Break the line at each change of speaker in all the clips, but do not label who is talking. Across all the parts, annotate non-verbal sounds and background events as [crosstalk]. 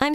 I'm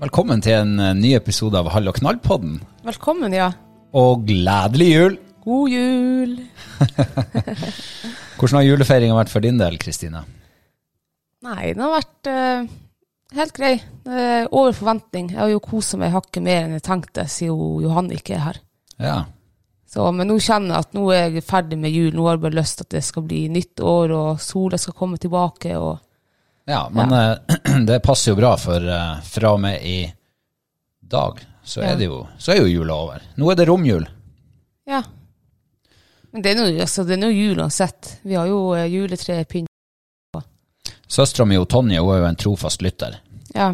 Velkommen til en eh, ny episode av Hall og knall-podden.
Velkommen, ja.
Og gledelig jul!
God jul.
Hvordan har julefeiringa vært for din del, Kristine?
Nei, den har vært eh, helt grei. Eh, over forventning. Jeg har jo kosa meg hakket mer enn jeg tenkte, siden jo Johan ikke er her.
Ja.
Så, men nå kjenner jeg at nå er jeg ferdig med jul. Nå har jeg bare lyst til at det skal bli nytt år, og sola skal komme tilbake. Og
ja men eh, [clears throat] det passer jo bra, for eh, fra og med i dag så er, det jo, så er jo jula over. Nå er det romjul.
ja. Men det er nå altså, det er nå jul uansett. Vi har jo eh, juletrepynt.
Søstera mi Tonje hun er jo en trofast lytter.
Ja.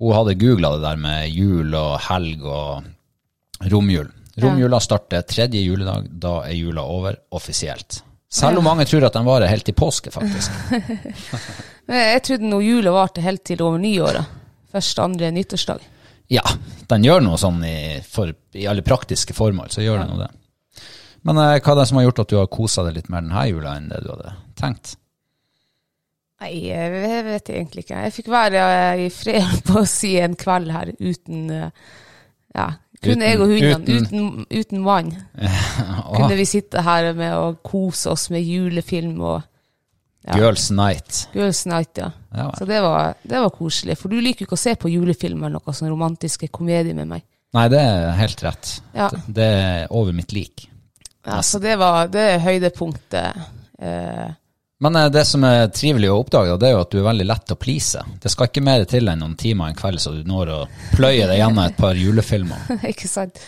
Hun hadde googla det der med jul og helg og romjul. Romjula starter tredje juledag. Da er jula over offisielt. Selv om mange tror at den varer helt til påske, faktisk.
Men jeg trodde nå jula varte helt til over nyåret. Første, andre nyttårsdag.
Ja, den gjør noe sånn i, for, i alle praktiske formål, så gjør den jo det. Men eh, hva er det som har gjort at du har kosa deg litt mer denne jula enn det du hadde tenkt?
Nei, jeg vet egentlig ikke. Jeg fikk være eh, i fred [laughs] på å si en kveld her uten eh, Ja, kun
Uten-
jeg og hundene.
uten- Ah.
Uten, uten mann. Kunne vi sitte her med å kose oss med julefilm og Ja.
Girls Night.
Girls Night, ja.
Ja,
Så
vel.
det var, det var koselig. For du liker jo ikke å se på julefilmer eller noe sånn romantiske komedier med meg.
Nei, det er helt rett.
Ja.
Det, det er over mitt lik.
Ja, så det var det er høydepunktet. Eh, [laughs]
Men eh, det som er trivelig å oppdage, det er jo at du er veldig lett å please. Det skal ikke mer til enn noen timer en kveld, så du når å pløye deg gjennom et par
[laughs]
julefilmer.
ikke sant?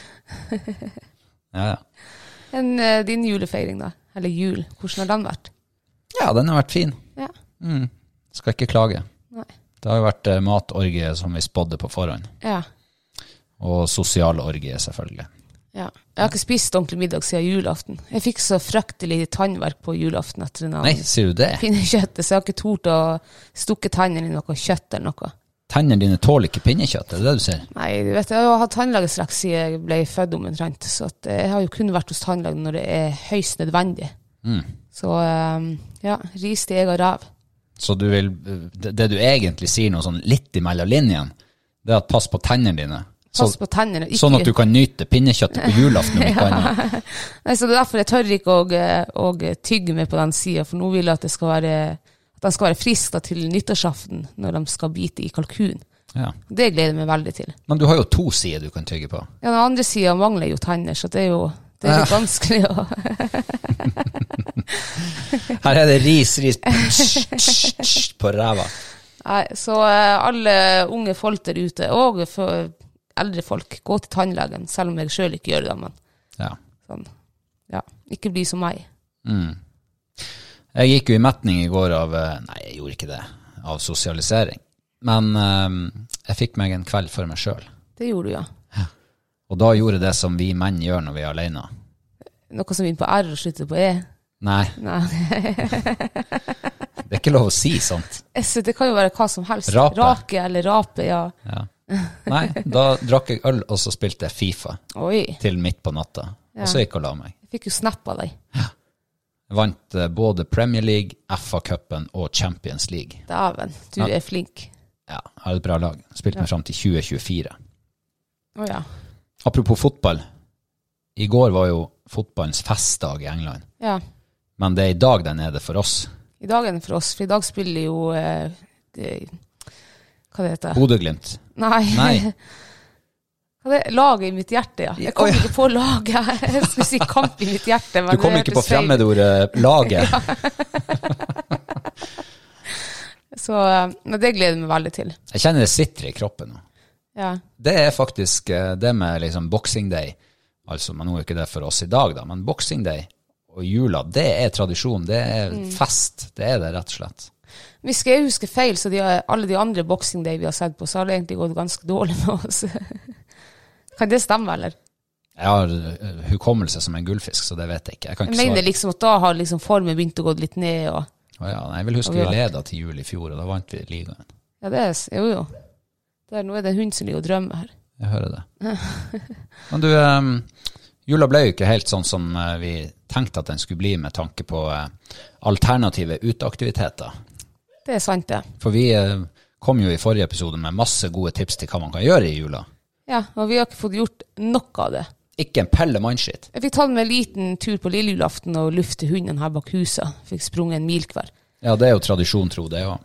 Ja, ja.
Men eh, din julefeiring, da? Eller jul, hvordan har den vært?
ja, den har vært fin.
Ja.
Mm. Skal ikke klage.
Nei.
Det har jo vært eh, matorgie som vi spådde på forhånd.
Ja.
Og sosial orgie, selvfølgelig.
Ja. Jeg har ikke spist ordentlig middag siden julaften. Jeg fikk så fryktelig tannverk på julaften etter den
Nei, sier du det?
pinnekjøttet, så jeg har ikke tort å stukke tennene i noe kjøtt eller noe.
Tennene dine tåler ikke pinnekjøtt, er det det du sier?
Nei, du vet, jeg har hatt tannlegestrekk siden jeg ble født omtrent, så at eh, jeg har jo kun vært hos tannlegen når det er høyst nødvendig.
Mm.
Så eh, ja, ris til egen ræv.
Så du vil, det det du egentlig sier noe sånn litt imellom linjen, det er at pass på tennene dine. Så,
Pass på tennene. Ikke,
sånn at du kan nyte pinnekjøttet på julaften om ikke annet.
Nei, så det er derfor jeg tør ikke å, å tygge meg på den sida, for nå vil jeg at det skal være at de skal være friske til nyttårsaften når de skal bite i kalkun.
Ja.
Det gleder jeg meg veldig til.
Men du har jo to sider du kan tygge på.
Ja, den andre sida mangler jo tenner, så det er jo
[laughs]
det er litt vanskelig å
Her er det ris, ris, psh, psh, psh, på ræva.
Nei, så eh, alle unge folk der ute, og for eldre folk, gå til tannlegen, selv om jeg sjøl ikke gjør det. Men
Ja.
sånn, ja, ikke bli som meg.
Jeg gikk jo i metning i går av eh, Nei, jeg gjorde ikke det. Av sosialisering. Men eh, jeg fikk meg en kveld for meg sjøl.
Det gjorde du, ja.
Og da gjorde jeg det som vi menn gjør når vi er aleine.
Noe som begynner på R og slutter på E.
Nei,
Nei, [laughs]
det er ikke lov å si sånt.
S, det kan jo være hva som helst.
Rape.
Rake eller rape, ja.
Ja. Nei, da drakk jeg øl, og så spilte jeg Fifa
Oi.
til midt på natta. Og så gikk jeg og la meg.
Jeg fikk jo snap av deg.
Vant eh, både Premier League, FA-cupen og Champions League.
Dæven, du
Ja.
er flink.
Ja, har et bra lag. Spilte meg fram til 2024.
Å ja.
Apropos fotball. I går var jo fotballens festdag i England.
ja.
Men det er i dag den er det for oss.
I dag er den for oss, for i dag spiller jo eh, eh, Hva det heter
Bodø-Glimt.
Nei.
Nei.
Hva det Laget i mitt hjerte, ja. Jeg kom
Å, ja.
ikke på laget. [laughs] Jeg skulle si kamp i mitt hjerte. Men
Du kom
det
ikke på
hørtes feil ut.
fremmedordet laget.
[laughs] Så eh, men det gleder jeg meg veldig til.
Jeg kjenner det sitter i kroppen nå.
Ja.
Det er faktisk eh, det med liksom Boxing Day. Altså, men nå er jo ikke det for oss i dag, da, men Boxing Day og jula, det er tradisjon. Det er
Mm.
fest. Det er det, rett og slett.
Hvis ikke jeg husker feil, så de, alle de andre Boxing Day vi har sett på, så har det egentlig gått ganske dårlig med oss. [laughs] Kan det stemme, eller?
Jeg har eh, hukommelse som en gullfisk, så det vet jeg ikke. Jeg kan
Jeg
ikke
mener
svare.
liksom at da har liksom formen begynt å gå litt ned og
Å ja, nei, jeg vil huske
Og vi
vi
vant.
leda til jul i fjor, og da vant vi ligaen.
Ja, det er s- Jo, jo. Der, nå er det en hund som ligger og drømmer her.
Jeg hører det.
[laughs]
Men du, eh, jula ble jo ikke helt sånn som eh, vi tenkte at den skulle bli med tanke på eh, alternative uteaktiviteter.
Det er sant, det.
For vi eh, kom jo i forrige episode med masse gode tips til hva man kan gjøre i jula.
Ja, og vi har ikke fått gjort noe av det.
Ikke en pelle mannskitt.
Jeg fikk tatt meg en liten tur på lille julaften og lufte hunden her bak huset. Fikk sprunget en mil hver.
Ja, det er jo tradisjon, tro det òg.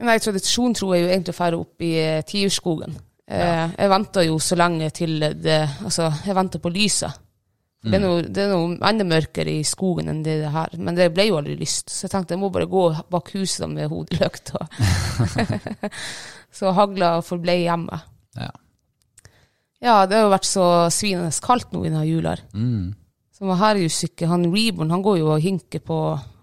Nei, tradisjon tror jeg jo egentlig å fære opp i eh, Tiurskogen. Eh, jeg venter jo så lenge til det Altså, jeg venter på lyset. For Det, er noe, det er noe enda mørkere i skogen enn det, det her, men det ble jo aldri lyst. Så jeg tenkte jeg må bare gå bak huset da med hodeløkt. og- [laughs] så hagla forblei hjemme.
Ja.
Ja, det har jo vært så svinende kaldt nå i denne jula. her. Så han herrejusyke, han Reborn, han går jo og hinker på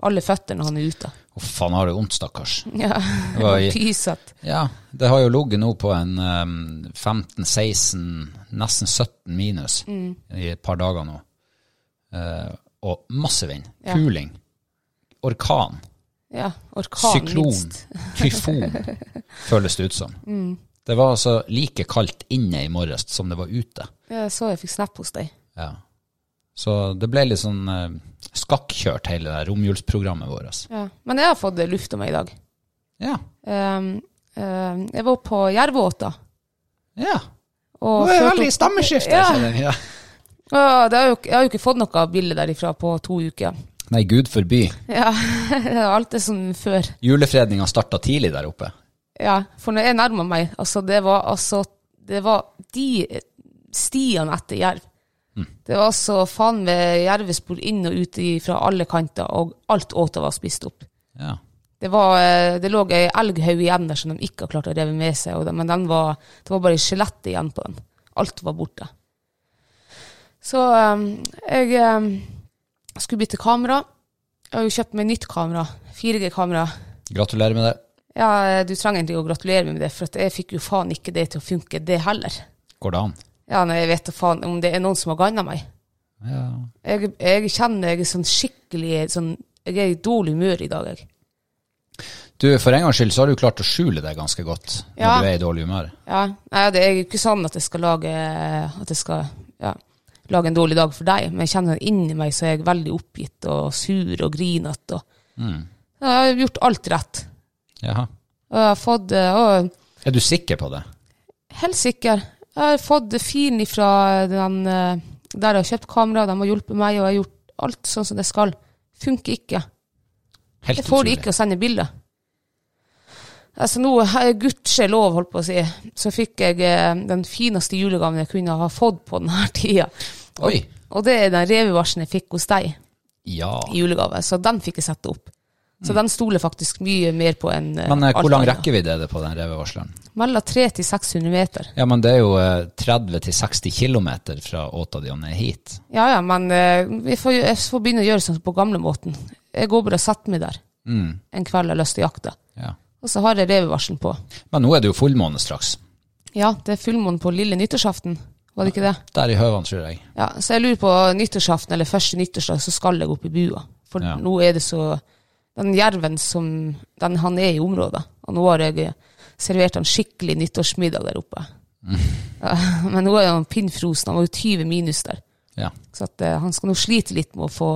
alle føttene når han er ute. [laughs]
Uff, han har det vondt, stakkars.
Ja,
[laughs] var i-
Pyset.
Ja, det har jo ligget nå på en eh, 15-16, nesten 17 minus i et par dager nå. Eh, og masse vind.
Ja.
Kuling. Orkan.
Ja, orkan
Syklon,
minst.
tyfon, [laughs] føles det ut som. Det var altså like kaldt inne i morges som det var ute.
Jeg så jeg fikk snap hos deg.
Ja. Så det ble litt sånn eh, skakkjørt, hele det der romjulsprogrammet vårt. altså.
Ja. Men jeg har fått eh, luft om meg i dag.
Ja.
Ehm, ehm, jeg var på Jervåta.
ja. Nå
Og
er det
kjørte
veldig
opp-
stammeskifte.
Ja.
kjenner jeg. Ja.
Ja, det har jo, ikke- jeg har jo ikke fått noe bilde derifra på to uker.
Nei, gud forby.
Ja, [laughs] Alt er som før.
Julefredninga starta tidlig der oppe.
Ja, for når jeg nærma meg, altså det var altså Det var de stiene etter jerv. Det var altså faen meg jervespor inn og ut i- fra alle kanter, og alt åta var spist opp.
Ja.
Det, var, eh, det lå ei elghaug igjen der som de ikke har klart å reve med seg, og den- men den var, det var bare skjelettet igjen på den. Alt var borte. Så eh, jeg eh, skulle bytte kamera. Jeg har jo kjøpt meg nytt kamera. 4G-kamera.
Gratulerer med det.
Ja, eh, du trenger egentlig å gratulere meg med det, for at jeg fikk jo faen ikke det til å funke, det heller.
Går det an?
Ja, nei, jeg vet da faen om det er noen som har ganna meg.
Ja.
Jeg, jeg kjenner jeg er sånn skikkelig sånn, Jeg er i dårlig humør i dag, jeg.
Du, for en gangs skyld så har du klart å skjule deg ganske godt når
Ja.
du er i dårlig humør.
Ja, nei, det er jo ikke sånn at jeg skal lage eh, At jeg skal ja, lage en dårlig dag for deg, men jeg kjenner inni meg så er jeg veldig oppgitt og sur og grinete. og- Ja, Jeg har gjort alt rett.
Jaha.
Og jeg har fått eh, og,
Er du sikker på det?
Helsike. Jeg har fått filen ifra den eh, der jeg har kjøpt kamera, de har hjulpet meg, og jeg har gjort alt sånn som det skal. Funker ikke.
Helt
Jeg får det
utrolig.
ikke å sende bilder. Altså nå, eh, gudskjelov, holdt på å si, så fikk jeg eh, den fineste julegaven jeg kunne ha fått på denne [laughs] tida.
Oi.
Og det er den revevarselen jeg fikk hos deg
Ja.
i julegave, så den fikk jeg sette opp. Så den stoler faktisk mye mer på enn eh,
Mm. Men eh, hvor
alt
lang
annet.
rekkevidde er det på den revevarsleren?
Mellom 300 til 600 meter.
Ja, men det er jo eh, 30-60 km fra åta di og ned hit.
Ja, ja, men eh, vi får, jo- jeg får begynne å gjøre sånn på gamlemåten. Jeg går bare og setter meg der
Mm,
en kveld jeg har lyst til å jakte.
ja.
Og så har jeg revevarselen på.
Men nå er det jo fullmåne straks.
Ja, det er fullmåne på lille nyttårsaften, var det ikke det?
Der i høvene, tror jeg.
Ja, så jeg lurer på nyttårsaften eller første nyttårsdag, så skal jeg opp i bua. For
Ja.
nå er det så Den jerven som den, Han er i området. Og nå har jeg servert han skikkelig nyttårsmiddag der oppe.
Mm.
Ja, [laughs] men nå er han pinnfrosen. Han var jo 20 minus der.
Ja.
Så at, eh, han skal nå slite litt med å få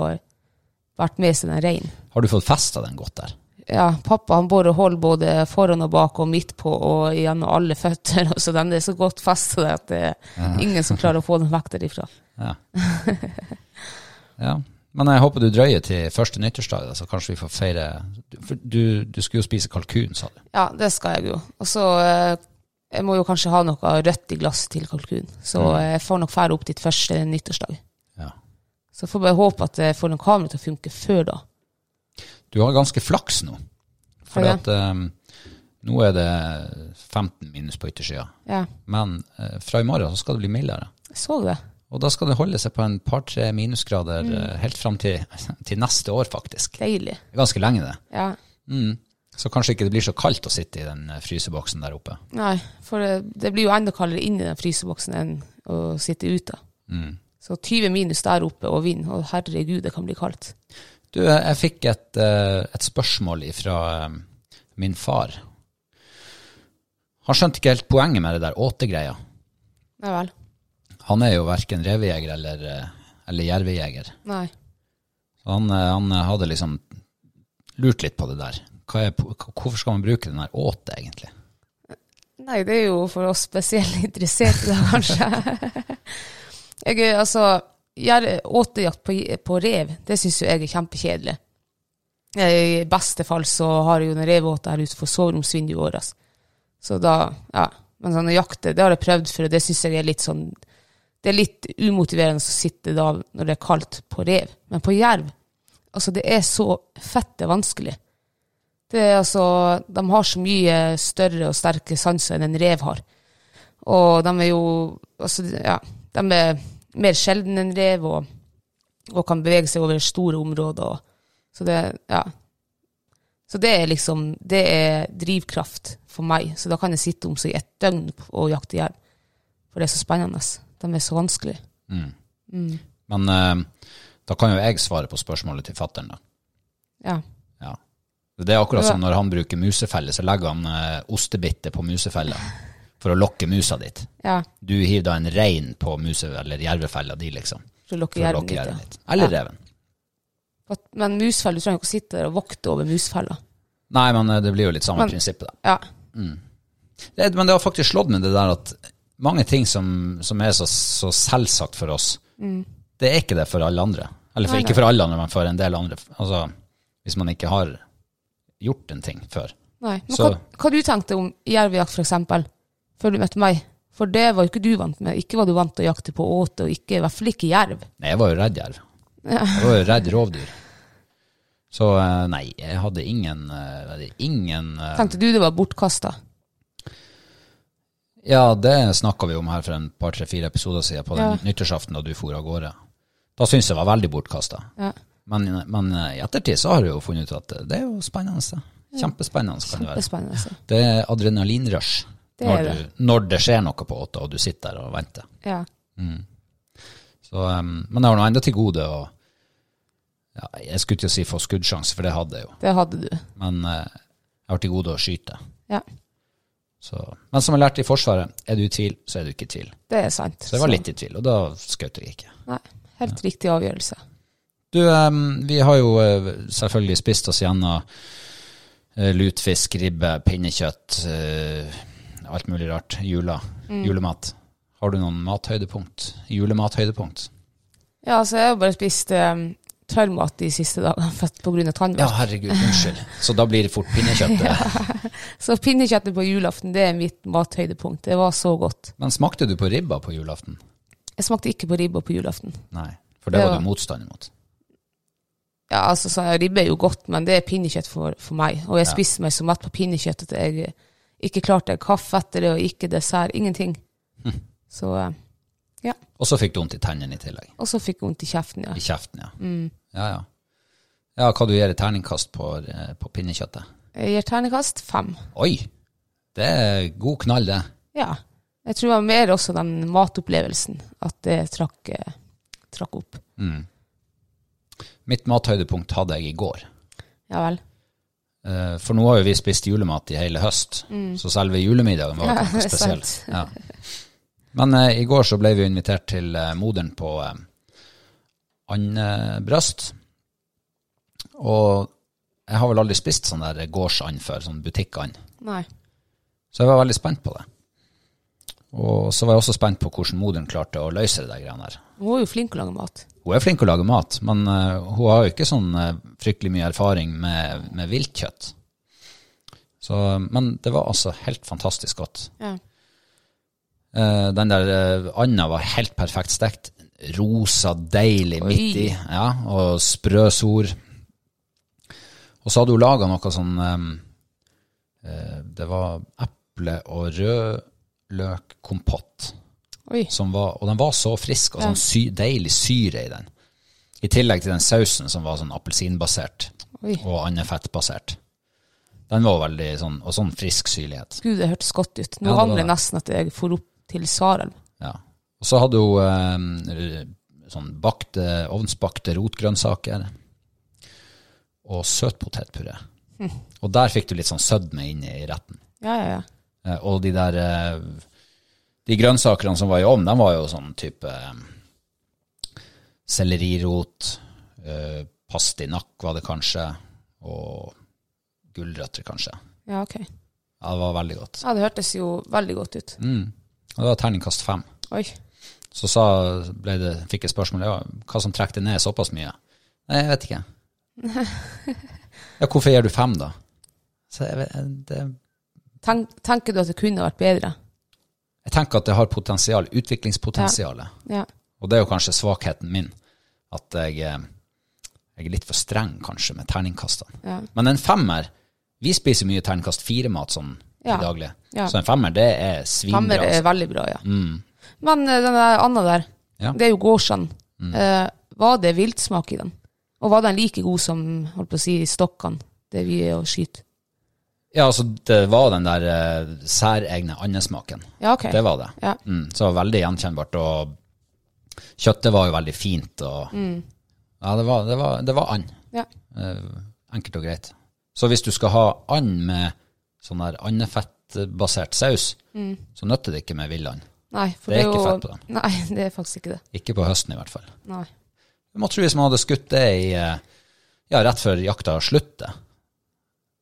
vært med seg den reinen.
Har du fått festa den godt der?
Ja, pappa han borer hull både foran og bak og midt på og gjennom alle føtter. [laughs] Og så den er så godt festa at det er ingen som klarer å få den vekk derifra.
Ja. ja. Men jeg håper du drøyer til første nyttårsdag, da, så kanskje vi får feire For du, du skulle jo spise kalkun, sa du.
Ja, det skal jeg jo. Og så eh, jeg må jo kanskje ha noe rødt i glass til kalkun. Så eh, jeg får nok fære opp dit første nyttårsdag.
Ja.
Så får bare håpe at jeg får en kamera til å funke før da.
Du har ganske flaks nå. For
Ja.
at, eh, nå er det 15 minus på yttersida.
Ja,
Men eh, fra i morgen så skal det bli mildere.
jeg så det.
Og da skal det holde seg på en par-tre minusgrader eh, helt fram til, [laughs] til neste år, faktisk.
Deilig.
Det er Ganske lenge, det.
Ja.
Mm. Så kanskje ikke det blir så kaldt å sitte i den eh, fryseboksen der oppe.
Nei, for det, det blir jo enda kaldere inni den fryseboksen enn å sitte ute.
Mm.
Så 20 minus der oppe og vind, og herregud, det kan bli kaldt.
Du, eh, jeg fikk et, eh, et spørsmål fra min far. Han skjønte ikke helt poenget med det der åtegreia.
Nei vel.
Han er jo verken revejeger eller, eh, eller jervejeger.
Nei.
Så han, eh, han hadde liksom lurt litt på det der. Hva er, po- hva- hvorfor skal man bruke den der åte, egentlig?
Nei, det er jo for oss spesielt interesserte, da, kanskje. jeg er altså jer- Åtejakt på, på rev, det syns jo jeg er kjempekjedelig. Eh, I beste fall så har jeg jo en revåte her utenfor soveromsvinduet vårt. altså. Så da, ja. Men sånne jakter, det har jeg prøvd før, og det syns jeg er litt sånn Det er litt umotiverende å sitte da når det er kaldt, på rev. Men på jerv, altså, det er så fette vanskelig. Det er altså, de har så mye større og sterke sanser enn en rev har. Og de er jo altså, ja, de er mer sjelden enn rev og, og kan bevege seg over store områder. Og, så, det, ja. så det er liksom det er drivkraft for meg. Så da kan jeg sitte om seg i et døgn og jakte jerv. For det er så spennende. De er så Mm. vanskelige.
Mm. Men eh, da kan jo jeg svare på spørsmålet til fattern, da.
Ja.
Ja. Det er akkurat som når han bruker musefelle, så legger han eh, ostebitte på musefella for å lokke musa dit.
ja.
Du hiver da en rein på muse- eller jervefella di, liksom.
For å lokke
For å
jerven
lokke
dit.
jerven
ja.
dit. Eller reven.
At- Men musfell, du trenger ikke å sitte der og vokte over musfella.
Nei, men eh, det blir jo litt samme
Men-
prinsippet, da.
Ja.
Det, men det har faktisk slått meg det der at mange ting som, som er så, så selvsagt for oss,
Mm.
det er ikke det for alle andre. Eller for, ikke for alle andre, men for en del andre. Altså, hvis man ikke har gjort en ting før.
Nei, men
Så-
hva, hva du tenkte om jervejakt for eksempel, før du møtte meg? For det var jo ikke du vant med. Ikke var du vant til å jakte på åte, og ikke, i hvert fall ikke jerv.
Nei, jeg var jo redd jerv. Jeg var jo redd rovdyr. Så eh, nei, jeg hadde ingen, eh, jeg hadde ingen eh,
Tenkte du det var bortkasta?
Ja, det snakka vi om her for en par, tre, fire episoder siden, på den
Ja.
nyttårsaften da du for av gårde. Da syns jeg det var veldig bortkasta.
Ja.
Men, men eh, i ettertid så har jeg jo funnet ut at det er jo spennende. Kjempespennende kan det
Det er
være.
spennende. altså.
Det er adrenalinrush
Det er
når, du- når det skjer noe på åtta, og du sitter der og venter. Mm.
Ja.
Så, um, men jeg har nå enda til gode å ja, Jeg skulle ikke si få skuddsjanse, for det hadde jeg jo.
Det hadde du.
Men eh, jeg har til gode å skyte.
Ja,
Så. Men som jeg lærte i Forsvaret, er du i tvil, så er du ikke i tvil.
det er sant.
Så jeg var litt i tvil, og da skjøt jeg ikke.
Nei, helt riktig avgjørelse.
Du, em, vi har jo eh, selvfølgelig spist oss gjennom eh, lutfisk, ribbe, pinnekjøtt, eh, alt mulig rart. Jula, julemat. Har du noen mathøydepunkt? Julemathøydepunkt?
Ja, altså jeg har bare spist um, trøllmat de siste dagene [laughs] for at- på grunn av
Ja,
tannverk.
herregud, unnskyld. [laughs] Så da blir det fort pinnekjøtt.
Så pinnekjøttet på julaften, det er mitt mathøydepunkt. Det var så godt.
Men smakte du på ribba på julaften?
Jeg smakte ikke på ribba på julaften.
Nei, for det
Det
var
var-
du motstand imot.
Ja, altså, sånn, ribbe er jo godt, men det er pinnekjøtt for, for meg. Og jeg spiste meg så mett på pinnekjøtt at jeg ikke klarte kaffe etter det, og ikke dessert. Ingenting.
Hm.
Så eh, ja.
Og så fikk du vondt i tennene i tillegg.
Og så fikk jeg vondt i kjeften, ja.
I kjeften, ja. Ja, ja. Ja, hva du gir i terningkast på, eh, på pinnekjøttet?
Jeg gir terningkast fem.
Oi! Det er god knall, det.
Ja. Jeg tror det var mer også den matopplevelsen at det trakk, eh, trakk opp.
Mitt mathøydepunkt hadde jeg i går.
Ja vel.
Eh, For nå har jo vi spist julemat i hele høst, så selve julemiddagen var jo kanskje spesiell. Ja. Men eh, i går så ble vi invitert til eh, moderen på eh, andebrøst. Og jeg har vel aldri spist sånn der gårdsand før, sånn butikkand.
Nei.
Så jeg var veldig spent på det. Og så var jeg også spent på hvordan moderen klarte å løse det der greiene der.
Hun var jo flink til å lage mat.
Hun er flink til å lage mat, men eh, hun har jo ikke sånn eh, fryktelig mye erfaring med, med viltkjøtt. Så, men det var altså helt fantastisk godt.
Ja.
Eh, den der eh, anda var helt perfekt stekt. Rosa, deilig midt i, ja, og sprø sor. Og så hadde hun laga noe sånn eh, eh, Det var eple- og rødløkkompott
Oi.
som var, og den var så frisk, og sånn sy, deilig syre i den. I tillegg til den sausen som var sånn appelsinbasert
Oi.
og annet fettbasert. Den var veldig sånn, og sånn frisk syrlighet.
Gud, det hørtes godt ut.
Ja,
Nå
det var
angrer
det.
jeg nesten at jeg for opp til Sarelv.
Ja. Og så hadde hun eh, sånn bakte, ovnsbakte rotgrønnsaker og søtpotetpuré. Og der fikk du litt sånn sødme inn i retten.
Ja, ja, ja.
Eh, Og de der eh, De grønnsakene som var i ovnen, de var jo sånn type eh, sellerirot, eh, pastinakk var det kanskje, og gulrøtter kanskje.
Ja, ok.
Ja, det var veldig godt.
Ja, det hørtes jo veldig godt ut.
Mm. Og det var terningkast fem.
Oi.
Så sa, ble det, fikk jeg spørsmål ja, hva som trekk det ned såpass mye. Nei, jeg vet ikke. Ja, hvorfor gir du fem, da? Så jeg, vet- det,
Tenk, tenker du at det kunne vært bedre?
jeg tenker at det har potensial, utviklingspotensialet.
Ja.
Og det er jo kanskje svakheten min, at jeg, eh, jeg er litt for streng kanskje med terningkastene.
Ja.
Men en femmer, vi spiser mye terningkast fire-mat sånn i
Ja.
daglig.
Ja.
Så en femmer, det er svinbra.
Femmer er
Altså.
veldig bra, ja. Men eh, den der Anna der,
Ja. Mm.
det er jo gårdsand. Eh, var det viltsmak i den? Og var den like god som holdt på å si, stokkene, det vi er å skyte?
Ja, altså det var den der eh, særegne andesmaken.
Ja, ok.
Det var det.
Ja.
Mm, så det var veldig gjenkjennbart, og kjøttet var jo veldig fint. Og, Ja, det var, det var, det var and.
Mm. Ja.
Eh, enkelt og greit. Så hvis du skal ha and med sånn der andefettbasert saus,
Mm.
så nytter det ikke med villand.
Nei, for
Det er
det er,
ikke
jo
fett på den.
Nei, [laughs] det er faktisk ikke det.
Ikke på høsten i hvert fall.
Nei.
Du må tro hvis man hadde skutt det i, eh, ja, rett før jakta slutter,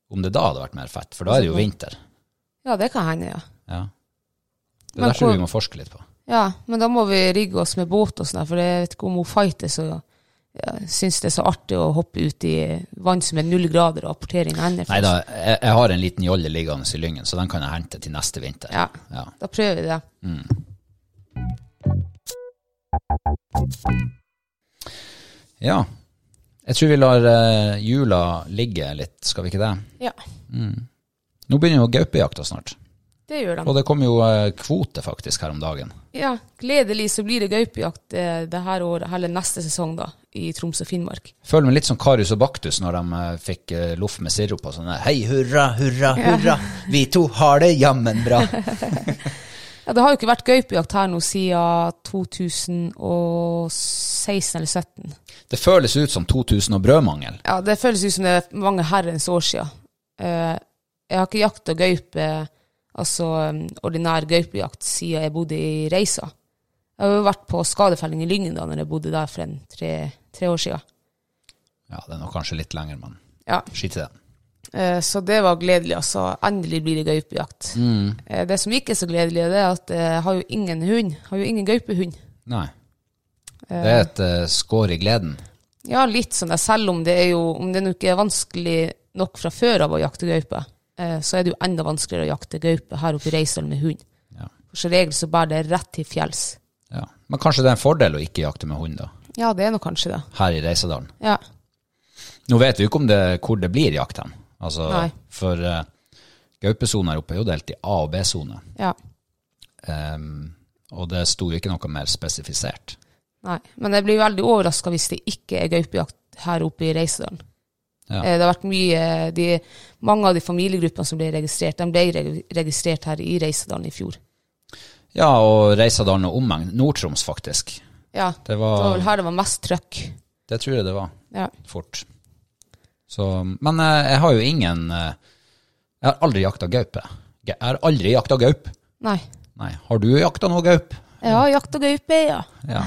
om det da hadde vært mer fett, for da er det jo
Altså,
vinter.
Ja, det kan hende, ja.
Ja. Det
Men
er derfor
hvor-
vi må forske litt på.
Ja, men da må vi rigge oss med båt og sånn, der, for jeg vet ikke om hun fighter, så ja, syns det er så artig å hoppe ut i vann som er null grader og apportering av hender.
Nei da, jeg, jeg har en liten jolle liggende i lyngen, så den kan jeg hente til neste vinter.
Ja.
Ja.
Da prøver vi det.
Ja. Jeg tror vi lar eh, jula ligge litt, skal vi ikke det?
Ja,
Nå begynner jo gaupejakta snart.
det gjør de.
Og det kom jo eh, kvote faktisk her om dagen.
Ja, gledelig så blir det gaupejakt eh, det her året, eller neste sesong da, i Troms og Finnmark.
Føler meg litt som Karius og Baktus når de eh, fikk eh, loff med sirup og sånn der, Hei, hurra, hurra, hurra, vi to har det jammen bra.
[laughs] Ja, det har jo ikke vært gaupejakt her nå siden 2016 eller 17.
Det føles ut som 2000 og brødmangel.
Ja, det føles ut som det er mange herrens år siden. Eh, jeg har ikke jakta gaupe, altså um, ordinær gaupejakt, siden jeg bodde i Reisa. Jeg har jo vært på skadefelling i Lyngen da når jeg bodde der for en tre, tre år siden.
Ja, det er nok kanskje litt lenger, men
Ja,
skitt i det.
eh, så det var gledelig, altså. Endelig blir det gaupejakt. Eh, det som ikke er så gledelig, det er at eh, jeg har jo ingen hund. Har jo ingen gaupehund.
Nei. Det er et eh, skår i gleden.
Ja, litt sånn der, selv om det er jo om det nå ikke er vanskelig nok fra før av å jakte gaupe, eh, så er det jo enda vanskeligere å jakte gaupe her oppe i Reisdal med hund.
Ja.
For som regel så bærer det rett til fjells.
Ja. Men kanskje det er en fordel å ikke jakte med hund, da?
Ja, det er nå kanskje det.
Her i Reisadalen.
Ja.
Nå vet vi jo ikke om det, hvor det blir jakt hen. Altså,
Nei.
for eh, gaupesona her oppe er jo delt i A- og B-sone.
Ja.
Ehm, og det sto jo ikke noe mer spesifisert.
Nei. Men jeg blir veldig overraska hvis det ikke er gaupejakt her oppe i Reisedalen.
Ja.
Eh, Det har vært mye de, Mange av de familiegruppene som ble registrert, de ble reg- registrert her i Reisedalen i fjor.
Ja, og Reisadalen og omegn. Nord-Troms, faktisk.
Ja.
Det
Det var
var
vel her det var mest trøkk.
Det tror jeg det var.
Ja.
Fort. Så, men eh, jeg har jo ingen eh, Jeg har aldri jakta gaupe. Jeg har aldri jakta gaup.
Nei.
Nei. Har du jakta noe gaup?
Jeg har jakta gaupe, ja.
[laughs] Ja.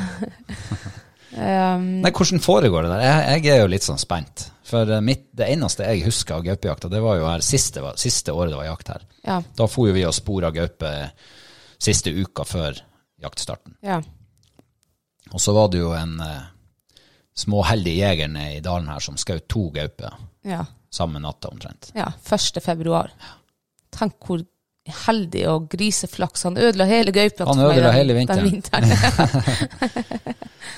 Um,
Nei, hvordan foregår det der? Jeg, jeg er jo litt sånn spent. For eh, mitt, det eneste jeg husker av gaupejakta, det var jo her siste, siste året det var jakt her.
ja.
Da for jo vi og spora gaupe eh, siste uka før jaktstarten.
ja.
Og så var det jo en eh, småheldig jeger nede i dalen her som skjøt to gauper
Ja.
samme natta omtrent.
ja. 1. februar. Tenk hvor heldig og griseflaks. Han ødela hele gaupa.
Han ødela hele vinteren. [laughs]
Den vinteren.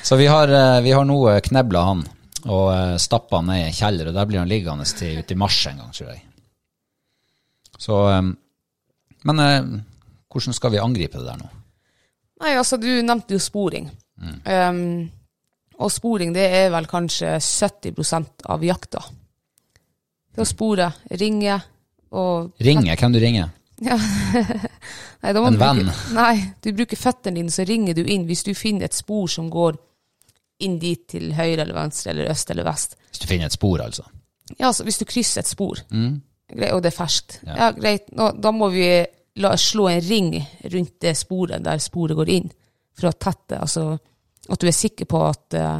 Så vi har, eh, vi har nå eh, knebla han og eh, stappa han ned i en kjeller, og der blir han liggende til uti mars en gang, tror jeg. Så eh, Men eh, hvordan skal vi angripe det der nå?
Nei, altså, du nevnte jo sporing.
Mm.
Um, og sporing, det er vel kanskje 70 av jakta. Det å spore, ringe og
Ringe? Hvem du ringer?
Nei, da må
En
du bruke-
venn.
Nei, du bruker føttene dine, så ringer du inn hvis du finner et spor som går inn dit til høyre eller venstre eller øst eller vest.
Hvis du finner et spor, altså.
Ja, altså, hvis du krysser et spor, grei- og det er ferskt,
Mm. Ja.
ja. greit, nå, da må vi la, slå en ring rundt det sporet der sporet går inn, for å tette, altså at du er sikker på at, eh,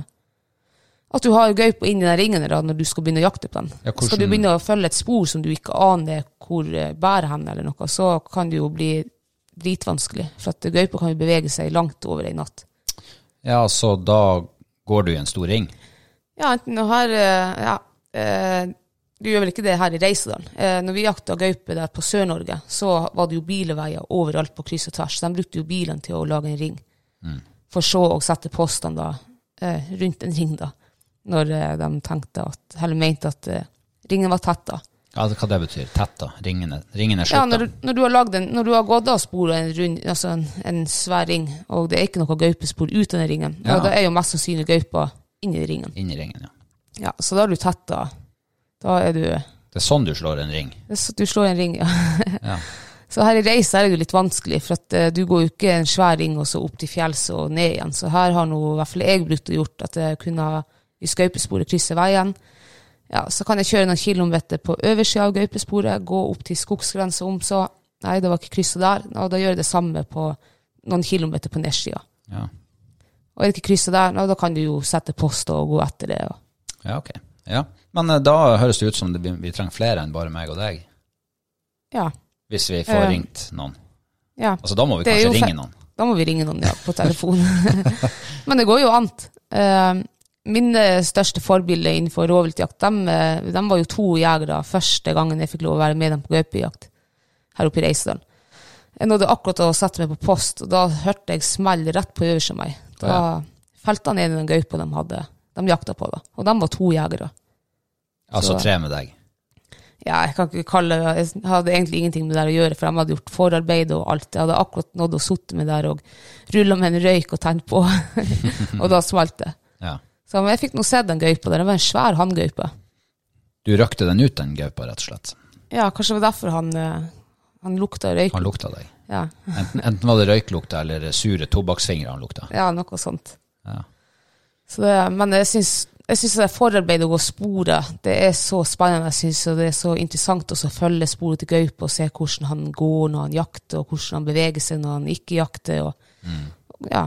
at du har gaupa inn i den ringen da, når du skal begynne å jakte på den.
Ja, hvordan-
Skal du begynne å følge et spor som du ikke aner hvor eh, bærer hen, eller noe, så kan det jo bli dritvanskelig, for at gaupa kan jo bevege seg langt over ei natt.
Ja, så da går du i en stor ring.
Ja, enten å her eh, Ja. eh, Du gjør vel ikke det her i Reisedalen. Eh, Når vi jakta gaupe der på Sør-Norge, så var det jo bilveier overalt på kryss og tvers. De brukte jo bilene til å lage en ring. For så å sette postene da eh, rundt en ring, da. Når eh, de tenkte at Eller mente at eh, ringen var tett, da.
Ja, det- hva det betyr? Tett, da. Ringene, ringene
Ja,
slutter.
når, du- når, du har lagd en, når du har gått av sporet en, rund, altså en, en svær ring, og det er ikke noe gaupespor ut av den ringen, ja.
Ja.
da er jo mest sannsynlig gaupa inni ringen.
Inn i ringen, ja.
Ja, så da har du tett da. Da er du
Det er sånn du slår en ring.
så Du slår en ring, ja.
Ja.
[laughs] Så her i Reisa er det jo litt vanskelig, for at eh, du går jo ikke en svær ring og så opp til fjells og ned igjen. Så her har nå i hvert fall jeg brukt å gjort at jeg kunne ha i gaupesporet krysse veien. Ja, så kan jeg kjøre noen kilometer på øversida av gaupesporet, gå opp til skogsgrensa om så Nei, det var ikke krysset der. Og da gjør jeg det samme på noen kilometer på nedsida.
Ja,
Og er det ikke krysset der, nei, da kan du jo sette post og gå etter det. Og.
ja ok. Ja. Men eh, da høres det ut som det, vi, vi trenger flere enn bare meg og deg,
Ja.
hvis vi får
Eh,
ringt noen.
ja.
Altså, da må vi
det er
kanskje
jo fe-
ringe noen.
Da må vi ringe noen ja, på telefon. [laughs] Men det går jo an. Eh, mine største forbilder innenfor rovviltjakt, de, eh, de var jo to jegere første gangen jeg fikk lov å være med dem på gaupejakt her oppe i Reisedalen. Jeg nådde akkurat å sette meg på post, og da hørte jeg smell rett på øverste meg. Da felte han en i den gaupa de hadde, de jakta på, da. og de var to jegere.
Altså
så-
tre med deg.
Ja, jeg kan ikke kalle det Jeg hadde egentlig ingenting med det der å gjøre, for de hadde gjort forarbeid og alt. Jeg hadde akkurat nådd å sitte med der og rulla med en røyk og tent på, [laughs] og da smalt det.
Ja.
Så men jeg fikk nå sett den gaupa der. Det var en svær hanngaupe.
Du røkte den ut, den gaupa, rett og slett.
Ja, kanskje det var derfor han, eh, han lukta røyk.
Han lukta deg.
Ja.
Enten, enten var det røyklukta eller sure tobakksfingre han lukta.
ja, noe sånt.
Ja.
Så det, men jeg syns, jeg syns det forarbeidet å gå sporet, det er så spennende. Jeg synes, og det er så interessant også å følge sporet til gaupe og se hvordan han går når han jakter, og hvordan han beveger seg når han ikke jakter. Og, ja,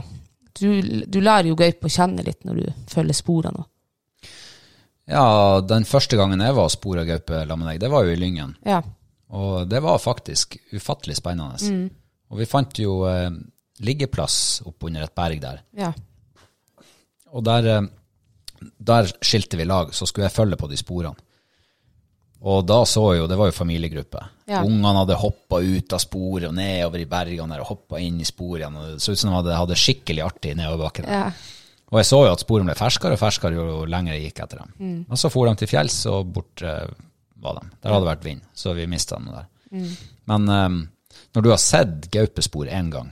du, du lærer jo gaupe å kjenne litt når du følger sporene. og-
Ja, den første gangen jeg var og spora gaupe sammen med deg, det var jo i Lyngen.
Ja,
Og det var faktisk ufattelig spennende. Og vi fant jo eh, liggeplass oppunder et berg der.
ja,
Og der, eh, der skilte vi lag, så skulle jeg følge på de sporene. Og da så jeg jo, det var jo familiegruppe.
Ja.
Ungene hadde hoppa ut av sporet og nedover i bergene der, og hoppa inn i sporet igjen. og Det så ut som de hadde, hadde skikkelig artig nedover bakken.
ja.
Og jeg så jo at sporene ble ferskere og ferskere jo lenger jeg gikk etter dem. Og så for de til fjells, og bort eh, var de. Der hadde det vært vind, så vi mista dem der. Men eh, når du har sett gaupespor én gang,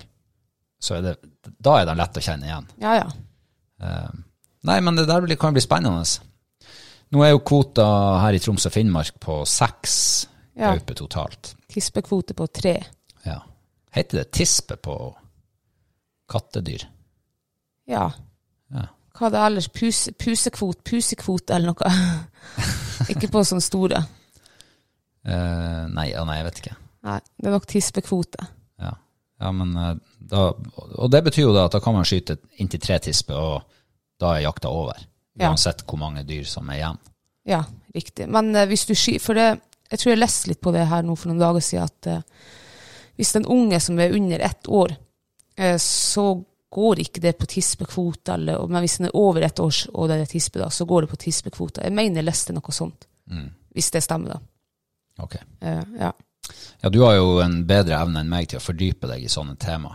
så er det, da er de lett å kjenne igjen.
Ja, ja.
Eh, Nei, men det der blir- kan bli spennende. Nå er jo kvota her i Troms og Finnmark på seks
Ja.
gauper totalt.
Tispekvote på tre.
Ja. Heter det tispe på kattedyr?
Ja.
Ja.
Hva er det ellers? Puse, pusekvot, pusekvote eller noe. [laughs] ikke på sånne store.
Eh, nei, ja, nei, jeg vet ikke.
Nei, det er nok tispekvote.
Ja, ja men eh, da, Og det betyr jo da at da kan man skyte inntil tre tisper, og da er jakta over.
Ja.
Uansett hvor mange dyr som er igjen.
Ja, riktig. Men eh, hvis du sky... For det, jeg tror jeg leste litt på det her nå for noen dager siden, at eh, hvis den unge som er under ett år, eh, så går ikke det på tispekvote, eller, og- men hvis den er over ett år og det er tispe, da, så går det på tispekvote. Jeg mener jeg leste noe sånt, hvis det stemmer, da.
Mm. Ok.
Eh, ja.
Ja, du har jo en bedre evne enn meg til å fordype deg i sånne tema.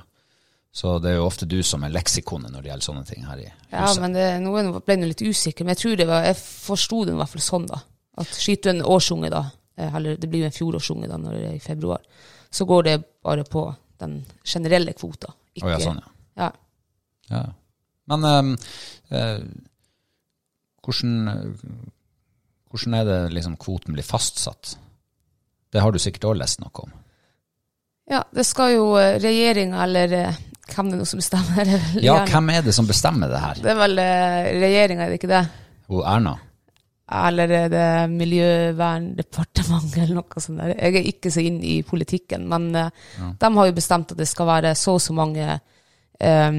Så det er jo ofte du som er leksikonet når det gjelder sånne ting her i
ja,
huset.
men det, nå er jeg nå- ble jeg nå litt usikker, men jeg tror det var, jeg forsto det i hvert fall sånn, da. At skyter du en årsunge, da, eh, eller det blir jo en fjorårsunge da, når det er i februar, så går det bare på den generelle kvota. Ikke,
Å ja, sånn, ja.
Ja.
ja. ja. Men ehm, eh, hvordan, hvordan er det liksom kvoten blir fastsatt? Det har du sikkert også lest noe
[laughs]
om.
Ja, det skal jo regjeringa, eller eh, hvem det nå som bestemmer [laughs] det er vel
Ja,
gjerne-
hvem er det som bestemmer det her?
Det er vel regjeringa, er det ikke det?
Hun Erna?
Eller er det Miljøverndepartementet [laughs] eller noe sånt der? Jeg er ikke så inn i politikken, men eh, de har jo bestemt at det skal være så og så mange eh,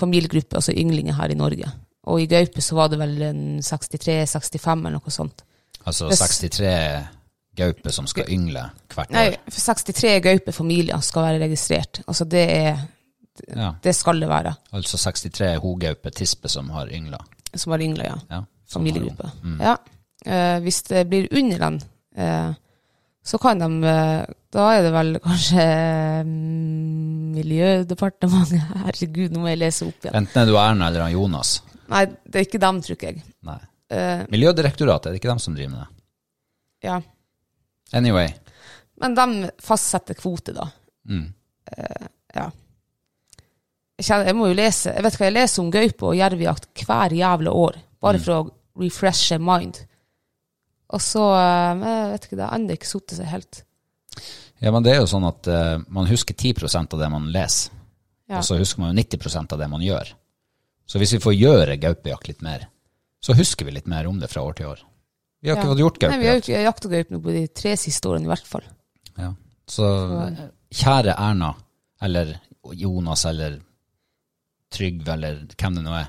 familiegrupper, altså ynglinger, her i Norge. Og i gaupe så var det vel en 63-65 eller noe sånt.
Altså
Hvis-
63 gauper som skal yngle hvert
Nei,
år.
for 63 gaupefamilier skal være registrert. Altså det er
Ja,
Det skal det være,
altså 63 hogauper tisper som har yngla.
som har yngla, ja.
Ja, som har
familiegruppe. Ja. Eh, hvis det blir under den, eh, så kan de eh, Da er det vel kanskje eh, Miljødepartementet [laughs] Herregud, nå må jeg lese opp igjen.
Enten er du Erna eller han Jonas.
Nei, det er ikke dem, tror ikke jeg.
Nei.
Eh,
Miljødirektoratet, er det ikke dem som driver med det?
ja.
Anyway.
Men de fastsetter kvote, da.
Mm.
Ja. Jeg, kjenner, jeg må jo lese Jeg vet hva jeg leser om gaupe og jervejakt hver jævla år,
Mm.
bare for å refreshe mind. Og så eh, Jeg vet ikke, det har ennå ikke satt seg helt.
Ja, men det er jo sånn at eh, man husker 10 av det man leser,
Ja.
og så husker man jo 90 av det man gjør. Så hvis vi får gjøre gaupejakt litt mer, så husker vi litt mer om det fra år til år. Vi har
Ja.
ikke fått gjort
Nei, vi har jo
gaupejakt.
ikke jakta gaupe nå på de tre siste årene i hvert fall.
Ja. Så eh, kjære Erna, eller Jonas, eller Trygve, eller hvem det nå er,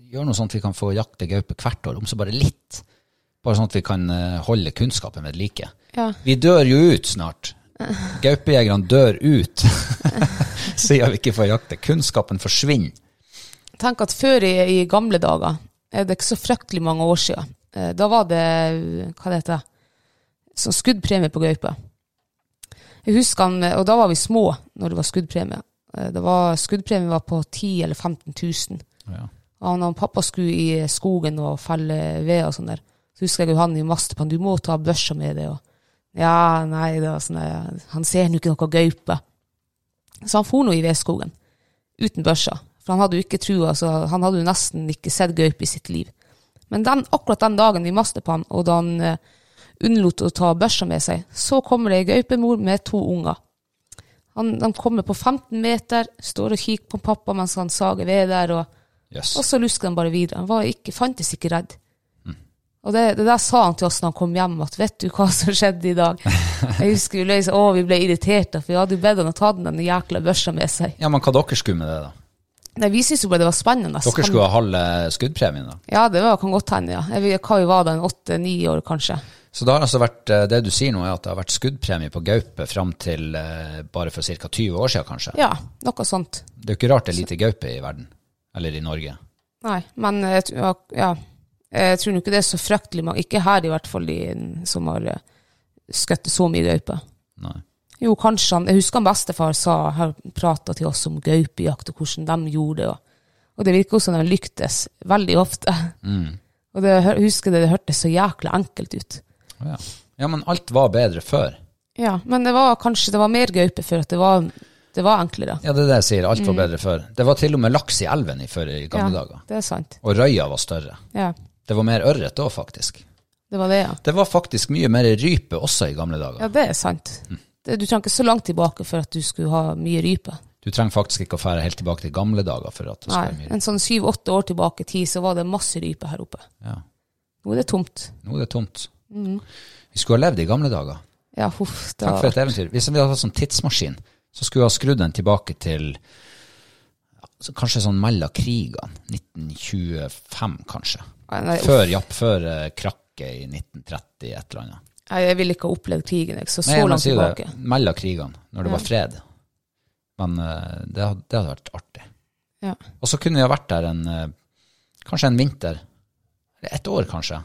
gjør noe sånn at vi kan få jakte gaupe hvert år, om så bare litt. Bare sånn at vi kan eh, holde kunnskapen ved like.
Ja.
Vi dør jo ut
[laughs]
snart. Gaupejegerne dør ut, [laughs] siden vi ikke får jakte. Kunnskapen forsvinner.
Tenk at før i, i gamle dager, eh, det er ikke så fryktelig mange år siden, eh, da var det, eh, hva det heter det, sånn skuddpremie på gaupe. Jeg husker han, eh, og da var vi små når det var skuddpremie. Eh, Det var, skuddpremien var på 10 000 eller 15 000.
Ja.
Og han og pappa skulle i skogen og felle ved og sånn der. Så husker jeg jo han i maste på han, du må ta børsa med deg. Og, ja, nei, det var sånn der, han ser nå ikke noe gaupe. Så han for nå i vedskogen, uten børsa. For han hadde jo ikke trua, så han hadde jo nesten ikke sett gaupe i sitt liv. Men den, akkurat den dagen vi maste på han, og da han eh, unnlot å ta børsa med seg, så kommer det ei gaupemor med to unger. Han, de kommer på 15 meter, står og kikker på pappa mens han sager ved der, og
Jøss.
og så lusker han bare videre. Han var ikke, fantes ikke redd. Og det, det der sa han til oss når han kom hjem, at vet du hva som skjedde i dag? Jeg husker vi løs, å, vi ble irritert, da, for vi hadde jo bedt han å ta den den jækla børsa med seg.
Ja, men hva dere skulle med det, da?
Nei, vi syntes jo bare det var spennende.
Dere skulle ha halve skuddpremien, da?
Ja, det var, kan godt hende, ja. Jeg vet hva vi var da, en åtte-ni år kanskje.
Så det har altså vært, eh, det du sier nå er at det har vært skuddpremie på gaupe fram til eh, bare for ca. 20 år siden, kanskje?
Ja, noe sånt.
Det er jo ikke rart det er lite gaupe i verden, eller i Norge.
Nei, men eh, jeg tr- ja, ja. Jeg tror nå ikke det er så fryktelig mange, ikke her i hvert fall, de som har eh, skutt så mye gaupe.
Nei.
Jo, kanskje han Jeg husker han bestefar sa, har prata til oss om gaupejakt og hvordan de gjorde det. og Og det virker jo som de lyktes veldig ofte.
Mm.
Og det, jeg husker det, det hørtes så jækla enkelt ut.
Ja. ja, men alt var bedre før.
Ja, men det var kanskje det var mer gaupe før, at det var, det var enklere.
Ja, det er det jeg sier. Alt var
Mm.
bedre før. Det var til og med laks i elven i før i gamle dager.
det er sant.
Og røya var større.
Ja,
Det var mer ørret da, faktisk.
det var det, ja.
Det var faktisk mye mer rype også i gamle dager.
Ja, det er sant.
Mm.
Det, du trenger ikke så langt tilbake for at du skulle ha mye rype.
Du trenger faktisk ikke å fære helt tilbake til gamle dager for at det skal
Nei,
være mye rype.
en sånn syv-åtte år tilbake i tid så var det masse rype her oppe.
Ja.
Nå er det tomt.
Nå er det tomt.
Mm.
Vi skulle ha levd i gamle dager.
Ja, huff. Det
Takk for
var,
et eventyr. Hvis vi hadde hatt sånn tidsmaskin, så skulle vi ha skrudd den tilbake til ja, så kanskje sånn mellom krigene. 1925, kanskje.
Nei, nei, uff.
Før, Japp, før eh, krakket i 1930, et eller annet.
Nei, jeg ville ikke ha opplevd krigen, jeg, så så
Nei, jeg må
langt
si
tilbake.
Det, mellom krigene, når det var fred. Men eh, det, had- det hadde vært artig.
Ja.
Og så kunne vi ha vært der en, eh, kanskje en vinter, eller et år kanskje.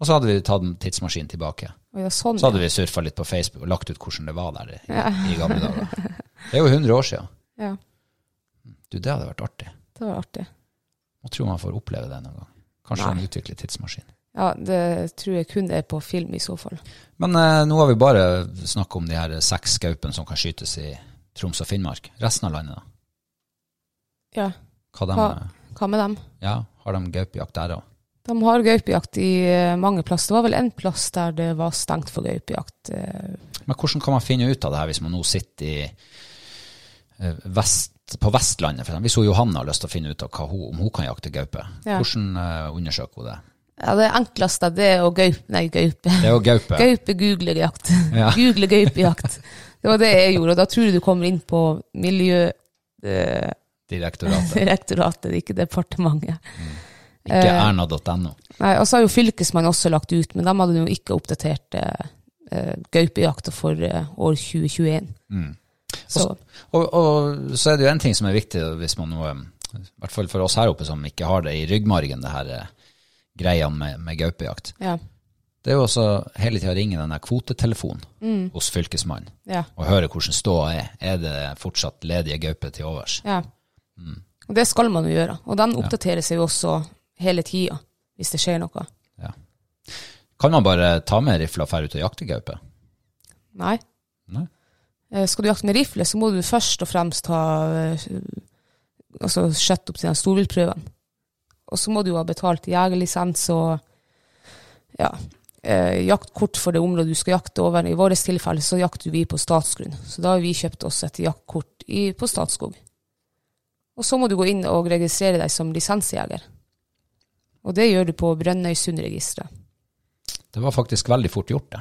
Og så hadde vi tatt en tidsmaskin tilbake.
Å, ja, sånn,
Så hadde
ja.
vi surfa litt på Facebook og lagt ut hvordan det var der i, i gamle dager. Det er jo 100 år siden.
Ja,
Du, det hadde vært artig.
[laughs] det var artig.
Jeg tror man får oppleve det noen gang. Kanskje
Nei.
man utvikler tidsmaskin.
Ja, det tror jeg kun er på film i så fall.
Men eh, nå har vi bare snakket om de her seks skaupene som kan skytes i Troms og Finnmark. Resten av landet, da?
Ja.
Hva de,
Hva- Hva med dem?
ja, har de gaupejakt der òg?
De har gaupejakt i eh, mange plass. Det var vel en plass der det var stengt for gaupejakt. eh,
Men hvordan kan man finne ut av det her hvis man nå sitter i eh, vest, på Vestlandet? For eksempel? hvis hun Johanne har lyst til å finne ut av hva hun, om hun kan jakte gaupe,
Ja.
hvordan eh, undersøker hun det?
Ja, det enkleste det er å gaupe Nei, gaupe.
Det er jo gaupe.
Gaupe googlejakt.
[laughs] Ja.
Google gaupejakt. Det var det jeg gjorde, og da tror jeg du kommer inn på Miljødirektoratet, [laughs]
Direktoratet.
ikke departementet.
Ikke
Eh.
erna.no.
Nei, Og så har jo Fylkesmannen også lagt ut, men dem hadde jo ikke oppdatert eh, eh, gaupejakta for eh, år 2021. Så
Mm. Og, og så er det jo en ting som er viktig hvis man nå, eh, i hvert fall for oss her oppe som ikke har det i ryggmargen, det her eh, greia med, med gaupejakt.
ja.
Det er jo også hele tida ringe den der kvotetelefonen hos Fylkesmannen
Mm. ja.
og høre hvordan ståa er. Er det fortsatt ledige gauper til overs? Mm.
Ja. Og det skal man jo gjøre. Og den oppdaterer seg jo også hele tida, hvis det skjer noe.
Ja. Kan man bare ta med rifla og fære ut og jakte gaupe?
Nei.
Nei.
Eh, Skal du jakte med rifle, så må du først og fremst ha eh, altså skjøtt opp til den storviltprøven. Og så må du jo ha betalt jegerlisens og ja, eh, jaktkort for det området du skal jakte over. I vårt tilfelle så jakter vi på statsgrunn, så da har vi kjøpt oss et jaktkort i, på Statskog. Og så må du gå inn og registrere deg som lisensjeger. Og det gjør du på Brønnøysundregisteret.
Det var faktisk veldig fort gjort, det.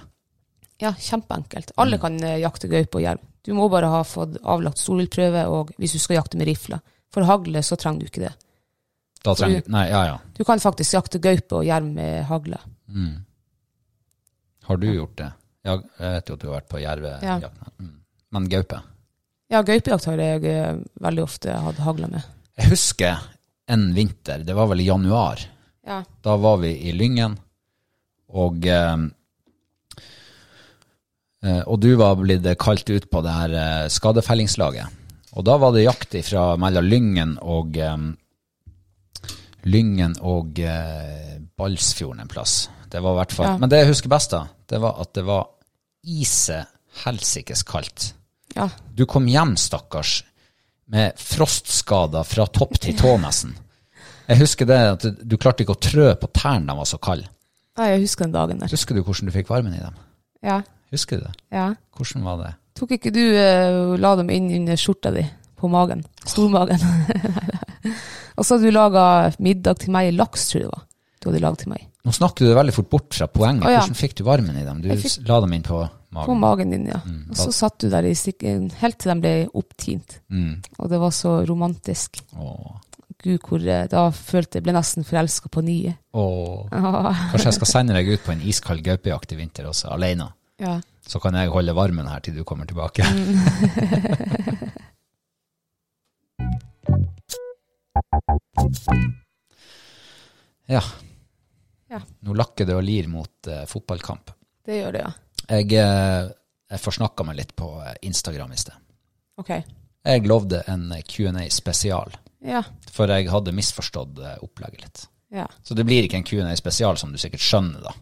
Ja, kjempeenkelt. Alle kan eh, jakte gaupe og jerv. Du må bare ha fått avlagt storviltprøve, og hvis du skal jakte med rifle. For hagle så trenger du ikke det.
Da trenger du Nei, ja ja.
Du kan faktisk jakte gaupe og jerv med hagle.
Mm. Har du gjort det? Ja, jeg vet jo at du har vært på jervejakt. Mm. Men gaupe?
Ja, gaupejakt har jeg eh, veldig ofte hatt hagle med.
Jeg husker en vinter, det var vel i januar.
Ja.
Da var vi i Lyngen, og eh, eh, Og du var blitt kalt ut på det her eh, skadefellingslaget. Og da var det jakt ifra mellom Lyngen og eh, Lyngen og eh, Balsfjorden en plass. Det var i hvert fall
Ja.
Men det jeg husker best, da, det var at det var ise helsikes kaldt.
ja.
Du kom hjem, stakkars, med frostskader fra topp til tå nesten. Jeg husker det at du- du klarte ikke å trø på tærne, de var så kalde.
Nei, jeg husker den dagen der.
Husker du hvordan du fikk varmen i dem?
Ja,
Husker du det?
ja.
Hvordan var det?
Tok ikke du eh, la dem inn under skjorta di på magen? Stormagen. [laughs] og så hadde du laga middag til meg i laks, tror jeg det var. Du hadde laget til meg.
Nå snakker du deg veldig fort bort fra poenget.
Å, ja.
Hvordan fikk du varmen i dem? Du
Jeg fikk-
la dem inn på
På
magen.
magen din, ja.
da-
og så satt du der i stikken helt til de ble opptint.
Mm.
Og det var så romantisk.
Åh.
Gud, hvor eh, Da følte jeg ble nesten forelska på nye. [laughs]
Åh.
Ah,
Kanskje jeg skal sende deg ut på en iskald gaupejakt i vinter også, alene.
ja.
Så kan jeg holde varmen her til du kommer tilbake.
Mm.
[laughs] ja.
Ja.
Nå lakker det og lir mot eh, fotballkamp.
Det gjør det, ja.
Jeg, eh, jeg forsnakka meg litt på eh, Instagram i sted.
Ok.
Jeg lovde en Q&A spesial
Ja.
For jeg hadde misforstått eh, opplegget litt.
ja.
Så det blir ikke en Q&A spesial, som du sikkert skjønner, da.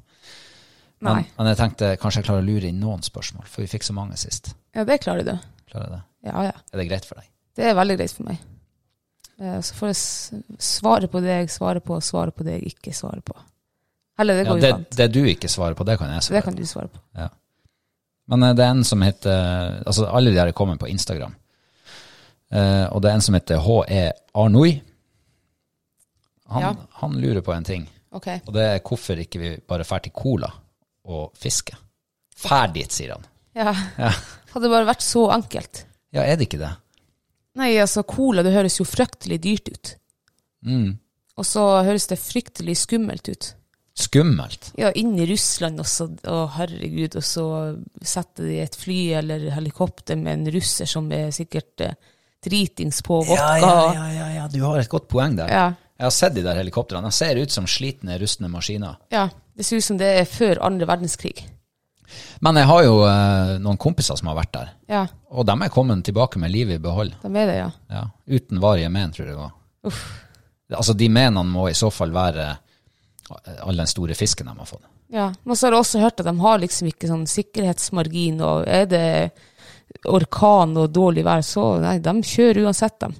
Men,
Nei.
men jeg tenkte kanskje jeg klarer å lure inn noen spørsmål, for vi fikk så mange sist.
Ja, det klarer du.
Klarer jeg det?
Ja, ja.
Er det greit for deg?
Det er veldig greit for meg. Eh, Så får jeg s- svare på det jeg svarer på, og svare på det jeg ikke svarer på. Eller det
Ja,
går
det,
jo fint.
det du ikke svarer på, det kan jeg
Så
svare
det kan du svare på.
Ja. Men eh, det er en som heter Altså, alle de her kommer på Instagram. Eh, og det er en som heter HE Arnoi. Han,
Ja.
han lurer på en ting,
Ok.
og det er hvorfor ikke vi bare drar til Cola og fisker. Fær dit, sier han.
Ja.
Ja.
Hadde det bare vært så enkelt.
Ja, er det ikke det?
Nei, altså, cola det høres jo fryktelig dyrt ut.
Mm.
Og så høres det fryktelig skummelt ut.
Skummelt.
Ja, inn i Russland også, og herregud, og så setter de et fly eller helikopter med en russer som er sikkert eh, dritings på vodka.
ja, ja, ja, du har et godt poeng der.
Ja.
Jeg har sett de der helikoptrene. De ser ut som slitne, rustne maskiner.
Ja, det ser ut som det er før andre verdenskrig.
Men jeg har jo eh, noen kompiser som har vært der,
Ja,
og de er kommet tilbake med livet i behold.
de er det, ja.
Ja, uten varige men, tror jeg det var. Altså, de menene må i så fall være eh, all den store fisken de har fått.
Ja, Men så har jeg også hørt at de har liksom ikke sånn sikkerhetsmargin, og er det orkan og dårlig vær, så nei, de kjører uansett, dem.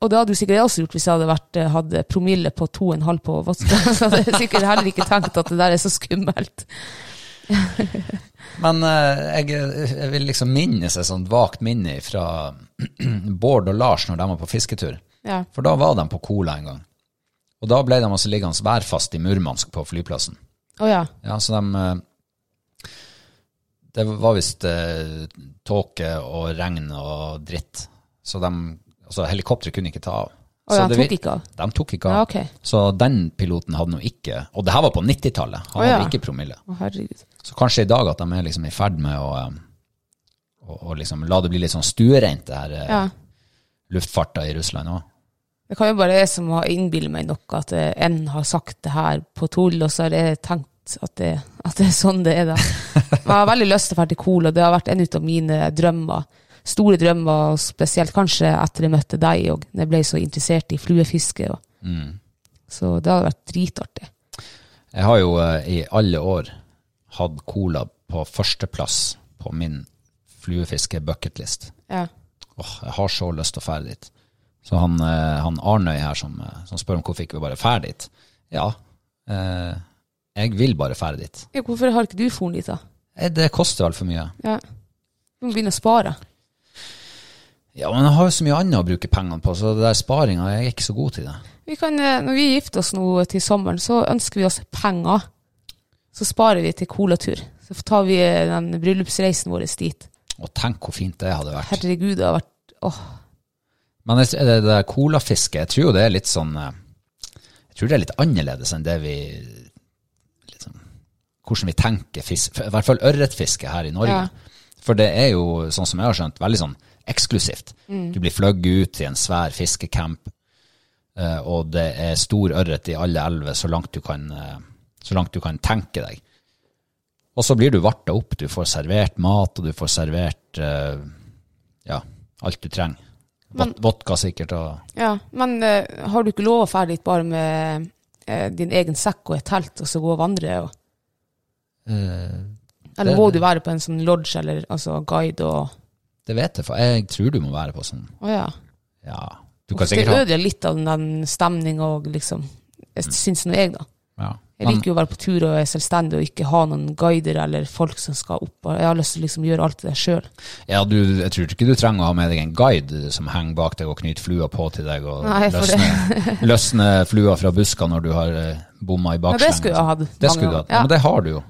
Og det hadde jo sikkert jeg også gjort hvis jeg hadde vært, eh, hadde promille på 2,5 på vodka. [laughs] Så hadde jeg sikkert heller ikke tenkt at det der er så skummelt.
Men eh, jeg, jeg vil liksom minnes et sånt vagt minne fra [clears throat] Bård og Lars når de var på fisketur.
Ja,
For da var de på Cola en gang. Og da ble de altså liggende værfast i Murmansk på flyplassen.
Å ja.
Ja, så de eh, Det var visst eh, tåke og regn og dritt. Så de, altså, helikopteret kunne ikke ta av.
Å ja,
Så det
han
vir-
tok ikke av.
De tok ikke av.
Ja, ok.
Så den piloten hadde nå ikke Og det her var på 90-tallet. Han
Å, ja.
hadde ikke promille.
Å herregud.
Så kanskje i dag at de er liksom i ferd med å, eh, å, å liksom la det bli litt sånn stuereint, det her eh,
Ja.
luftfarta i Russland òg.
Det kan jo bare jeg som har innbillet meg noe, at eh, en har sagt det her på tull, og så har jeg tenkt at det, at det er sånn det er, da. Men jeg har veldig lyst til å dra til Cola, det har vært en av mine drømmer. Store drømmer, og spesielt kanskje etter jeg møtte deg òg, når jeg ble så interessert i fluefiske. Og. Så det hadde vært dritartig.
Jeg har jo eh, i alle år hatt cola på førsteplass på min fluefiske-bucketlist.
Ja.
Åh, jeg har så lyst til å fære dit. Så han, eh, han Arnøy her som, eh, som spør om hvorfor ikke vi bare fære dit. Ja, eh, jeg vil bare fære dit.
Ja, hvorfor har ikke du foren dit, da?
Eh, Det koster altfor mye.
Ja. Du må begynne å spare.
Ja, men jeg har jo så mye annet å bruke pengene på, så det der sparinga, jeg er ikke så god til det.
Vi kan, eh, når vi gifter oss nå til sommeren, så ønsker vi oss penger. Så sparer vi til colatur. Så tar vi eh, den bryllupsreisen vår dit.
Og tenk hvor fint det hadde vært.
Herregud, det har vært åh,
Men jeg- det, det der colafisket, jeg tror jo det er litt sånn eh, Jeg tror det er litt annerledes enn det vi liksom, Hvordan vi tenker fisk, i hvert fall ørretfiske her i Norge.
Ja.
For det er jo, sånn som jeg har skjønt, veldig sånn eksklusivt.
Mm.
Du blir fløyet ut til en svær fiskecamp, eh, og det er stor ørret i alle elver så langt du kan, eh, så langt du kan tenke deg. Og så blir du varta opp, du får servert mat, og du får servert eh, ja, alt du trenger. Vod- Vodka sikkert og
Ja, men eh, har du ikke lov å dra dit bare med eh, din egen sekk og et telt, og så gå og vandre? Og, eller
eh, det-
må du være på en sånn lodge eller altså guide og
Det vet jeg, for jeg tror du må være på sånn
Å ja.
Ja, du kan
det
sikkert ha Mm.
ødelegger litt av den stemninga og liksom Jeg syns nå jeg, da.
ja.
Jeg
Men,
liker jo å være på tur og er selvstendig og ikke ha noen guider eller folk som skal opp. og Jeg har lyst til å liksom gjøre alt det sjøl.
ja, du, jeg tror ikke du trenger å ha med deg en guide som henger bak deg og knyter flua på til deg og
Nei, for det-
løsner, løsner flua fra buska når du har eh, bomma i
Ja,
bakslengen.
det skulle jeg ha hatt.
liksom. Det
mange
skulle du
ganger.
hatt. Ja. Men det har du jo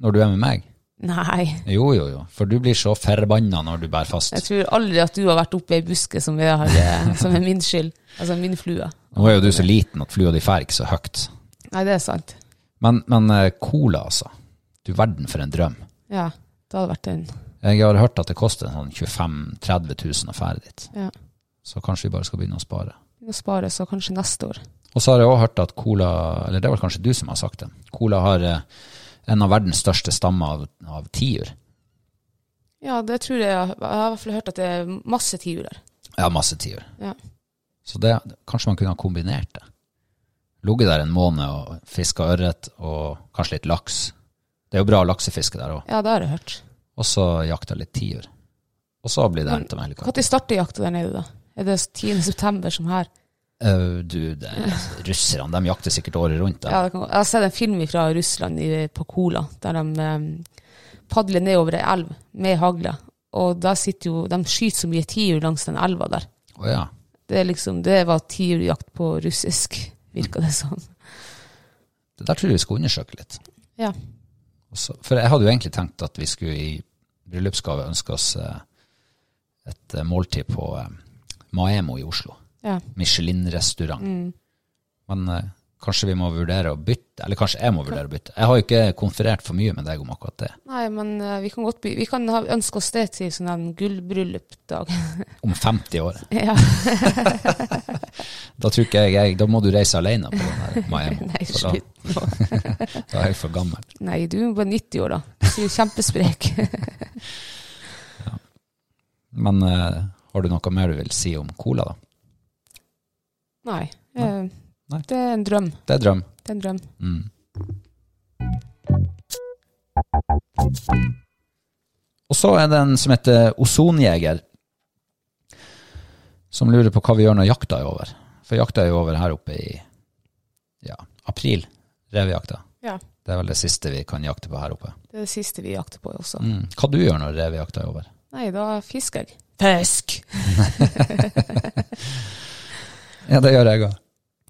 når du er med meg.
Nei,
Jo, jo, jo. For du blir så forbanna når du bærer fast.
jeg tror aldri at du har vært oppe i ei buske som, jeg har, eh, [laughs] som er min skyld. Altså min flue.
Nå er jo du så liten at flua di fær ikke så høyt.
Nei, det er sant.
Men, men eh, cola, altså. Du verden for en drøm.
Ja, det hadde vært en
Jeg har hørt at det koster sånn 25 000-30 000 å fære dit.
Ja.
Så kanskje vi bare skal begynne å spare.
Nå sparer så kanskje neste år.
Og så har jeg også hørt at Cola, eller det var kanskje du som har sagt det, Cola har eh, en av verdens største stammer av, av tiur.
Ja, det tror jeg. Jeg har i hvert fall hørt at det er masse tiurer.
Ja, masse tiur.
Ja.
Så det, kanskje man kunne ha kombinert det. Ligget der en måned og fiska ørret og kanskje litt laks. Det er jo bra laksefiske der òg.
Ja, det har jeg hørt.
Og så jakta litt tiur. Og så blir det hent om helga.
Når starter jakta der nede, da? Er det 10. september som her?
Au, du, det, russerne de jakter sikkert året rundt.
Ja,
Der.
det kan, gå. jeg har sett en film fra Russland i, på Kola, der de em, padler nedover ei elv med hagle. Og da sitter jo, de skyter så mye tiur langs den elva der.
Å ja.
Det, er liksom, det var tiurjakt på russisk, virka det som.
Det der tror jeg vi skal undersøke litt.
Ja.
Og så- for jeg hadde jo egentlig tenkt at vi skulle i bryllupsgave ønske oss eh, et eh, måltid på eh, Maemo i Oslo.
ja. Mm.
Michelin-restaurant. Men eh, kanskje vi må vurdere å bytte, eller kanskje jeg må vurdere å bytte. Jeg har jo ikke konferert for mye med deg om akkurat det.
Nei, men eh, vi kan godt by, vi kan ha, ønske oss det til sånn en gullbryllupdag. [laughs]
Om 50 år.
ja.
Da tror ikke jeg, jeg Da må du reise alene på den der Maemo.
Nei,
for da,
slutt nå.
da er jeg for gammel.
Nei, du er bare 90 år, da. Så du er kjempesprek. [laughs]
Men eh, har du noe mer du vil si om cola, da?
Nei. eh,
Nei.
Det er en drøm.
Det er drøm.
Det er en drøm.
Mm. Og så er det en som heter Ozonjeger, som lurer på hva vi gjør når jakta er over. For jakta er jo over her oppe i ja, april. Revejakta.
Ja.
Det er vel det siste vi kan jakte på her oppe.
Det er det siste vi jakter på også.
Mm. Hva du gjør når revejakta er over? [laughs]
Nei, da fisker jeg. Fisk!
Ja, det gjør jeg òg.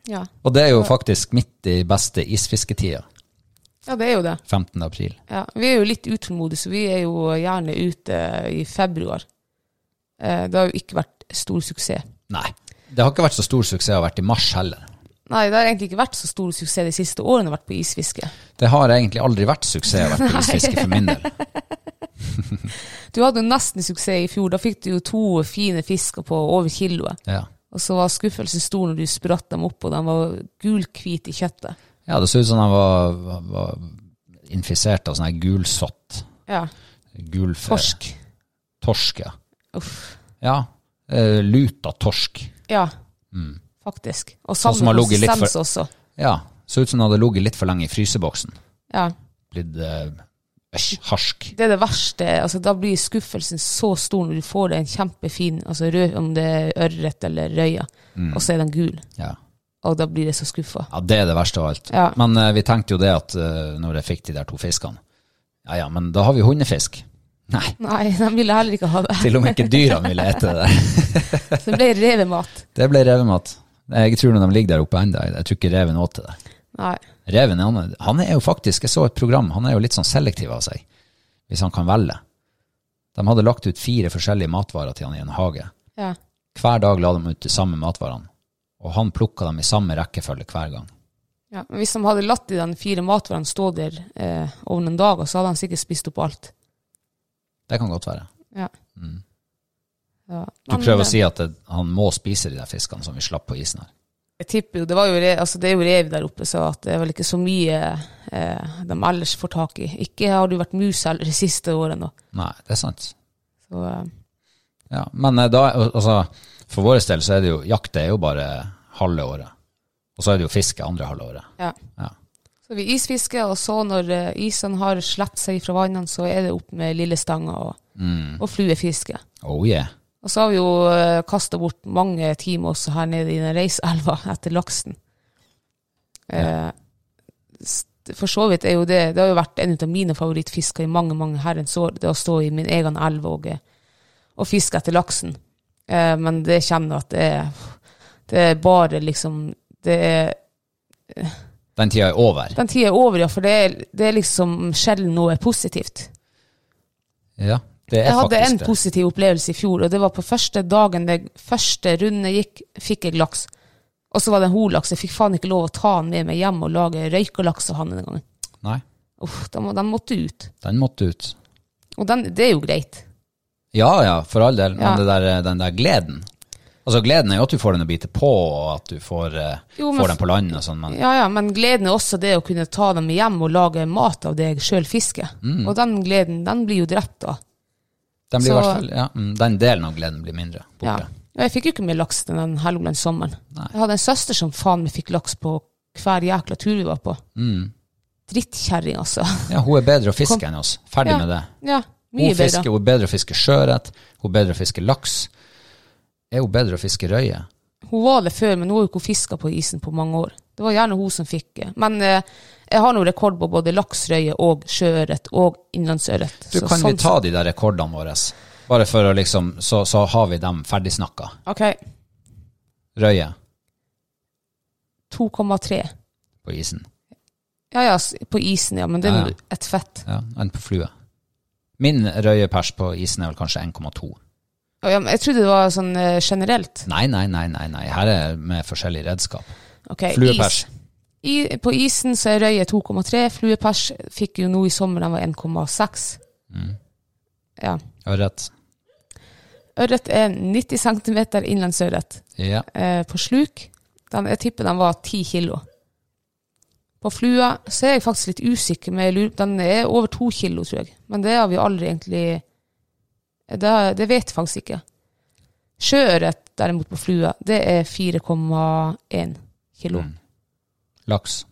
Ja.
Og det er jo faktisk midt i beste isfisketida.
ja, det er jo det.
15. april.
Ja. Vi er jo litt utålmodige, så vi er jo gjerne ute i februar. Eh, Det har jo ikke vært stor suksess.
Nei. Det har ikke vært så stor suksess å ha vært i mars heller.
Nei, det har egentlig ikke vært så stor suksess de siste årene jeg har vært på isfiske.
Det har egentlig aldri vært suksess å
[laughs]
være prisfisker for min del.
Du hadde jo nesten suksess i fjor. Da fikk du jo to fine fisker på over kiloet.
Ja.
Og så var skuffelsen stor når du spratt dem opp, og de var gulhvite i kjøttet.
ja, det så ut som han var, var, var infisert av sånn her gulsott.
Ja.
Gul
Torsk.
Torsk, ja.
Uff.
ja. eh, Luta torsk.
Ja, faktisk. Og
Sånn som
samme
har ligget litt
konsistens
for-
også.
Ja. Så ut som den hadde ligget litt for lenge i fryseboksen.
Ja.
Blitt eh, æsj, harsk.
Det er det verste. Altså, da blir skuffelsen så stor når du får det en kjempefin altså, rød, Om det er ørret eller røya, og så er den gul.
Ja.
Og da blir jeg så skuffa.
Mm. ja, det er det verste av alt.
Ja.
Men eh, vi tenkte jo det at eh, når jeg fikk de der to fiskene Ja ja, men da har vi hundefisk. Nei.
Nei, de ville heller ikke ha det.
Til og med ikke dyra ville ete det.
Så [laughs] det ble revemat.
Det ble revemat. Jeg tror når de ligger der oppe ennå, jeg tror ikke reven åt det.
Nei.
Reven han, er- han er jo faktisk, jeg så et program, han er jo litt sånn selektiv av seg, hvis han kan velge. De hadde lagt ut fire forskjellige matvarer til han i en hage.
Ja.
Hver dag la de ut de samme matvarene, og han plukka dem i samme rekkefølge hver gang.
ja. Men hvis de hadde latt de den fire matvarene stå der eh, over noen dager, så hadde han sikkert spist opp alt.
Det kan godt være.
Ja. Ja.
Du
Men,
prøver
eh,
å si at det, han må spise de der fiskene som vi slapp på isen her.
eh, Jeg tipper jo, det, var jo re, altså det er jo rev der oppe, så at det er vel ikke så mye eh, de ellers får tak i. Ikke har det jo vært mus heller de siste årene. da.
Nei, det er sant.
Så, eh,
Ja, men eh, da, al- altså, for vår del så er det jo, jakt er jo bare halve året. Og så er det jo fiske andre halve året.
ja.
Ja.
Så vi isfisker, og så når eh, isen har slett seg fra vannene, så er det opp med lille stanger og, og fluefiske.
Oh yeah.
Og så har vi jo eh, kasta bort mange timer også her nede i den reiselva [laughs] etter laksen. Eh, s- for så vidt er jo det Det har jo vært en av mine favorittfisker i mange mange herrens år, det å stå i min egen elv og, eh, og fiske etter laksen. Eh, men det kjenner jeg at det er, det er bare liksom det er
Den tida er over.
Den tida er over, ja, for det er, det er liksom sjelden noe positivt.
Ja, det er
Jeg hadde en
faktisk det.
positiv opplevelse i fjor, og det var på første dagen det første runde gikk, fikk jeg laks. Og så var det en holaks. Jeg fikk faen ikke lov å ta den med meg hjem og lage røykelaks av han den gangen.
Nei,
Uff, den, må, den måtte ut.
den måtte ut.
Og den, det er jo greit.
Ja ja, for all del, men
Ja.
det der, eh, den der gleden Altså Gleden er jo at du får den å bite på, og at du får, eh,
Jo, men
får den
f-
på land og sånn, men
Ja, ja, men gleden er også det å kunne ta dem med hjem og lage mat av det jeg sjøl fisker.
Mm.
Og den gleden, den blir jo drept da.
den, blir i
så-
hvert fall, ja, mm, den delen av gleden blir mindre.
Ja.
Borte.
Og jeg fikk jo ikke mye laks den Helgoland-sommeren. Jeg hadde en søster som faen meg fikk laks på hver jækla tur vi var på. Mm. Drittkjerring, altså.
Ja, hun er bedre å fiske enn oss. Ferdig
Ja.
med det.
Ja, mye
Hun,
bedre.
fisker, hun er bedre å fiske sjøørret, hun er bedre å fiske laks. Er hun bedre å fiske røye?
Hun var det før, men nå har jo ikke hun fiska på isen på mange år. Det var gjerne hun som fikk eh, Men eh, jeg har nå rekord på både laks, røye og sjøørret og innlandsørret.
Du,
Så
kan
sånn
vi ta de der rekordene våre? Bare for å liksom, så, så har vi dem ferdigsnakka.
sett- Ok,
Røye
2,3.
på isen.
Ja ja, s- på isen, ja, men det er
Ja,
nå
ja.
et fett.
Ja, enn på flue. Min røyepers på isen er vel kanskje 1,2.
Å, ja, men Jeg trodde det var sånn eh, generelt.
Nei, nei, nei, nei, nei. Her er med forskjellige redskap.
Ok,
Fluepers.
Is. I, på isen så er røye 2,3. Fluepers fikk jo nå i sommer, den var 1,6. Ja.
Ørret.
Ørret er 90 cm innlandsørret
Ja.
eh, på sluk. Den, jeg tipper den var 10 kilo. På flua så er jeg faktisk litt usikker, men jeg lurer, den er over 2 kilo, tror jeg. Men det har vi aldri egentlig eh, Det, det vet jeg faktisk ikke. Sjøørret, derimot, på flua, det er 4,1 kilo.
Laks.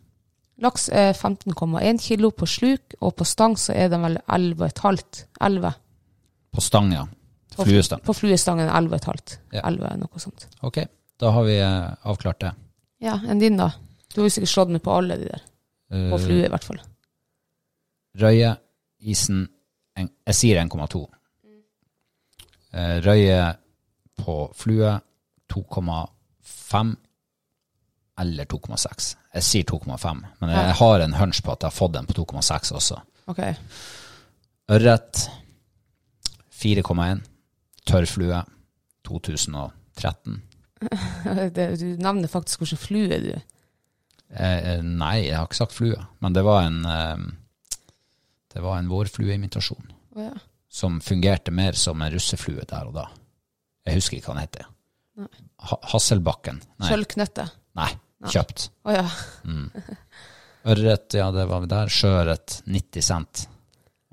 Laks er 15,1 kilo på sluk, og på stang så er den vel 11,5. 11.
På stang, ja.
På-
Fluestang.
På fluestangen 11,5.
Ja.
11, noe sånt.
Ok, da har vi eh, avklart det.
Ja, enn din da? Du har jo sikkert slått med på alle de der. På
Eh,
flue i hvert fall.
Røye, isen en, Jeg sier 1,2. Eh, Røye på flue 2,5 eller 2,6. Jeg sier 2,5, men jeg,
Ja.
har en hunch på at jeg har fått den på 2,6 også.
Ok.
Ørret 4,1. Tørrflue 2013.
[laughs] Det, du nevner faktisk hvilken flue du
Eh, eh, nei, jeg har ikke sagt flue, men det var en eh, Det var en vårflueimitasjon
Å ja.
som fungerte mer som en russeflue der og da. Jeg husker ikke hva den heter.
Nei.
Ha Hasselbakken. Nei.
Sølvknøtte.
nei, kjøpt. Mm.
Å ja. [laughs]
Ørret, ja, det var vi der. Sjøørret, 90 cent.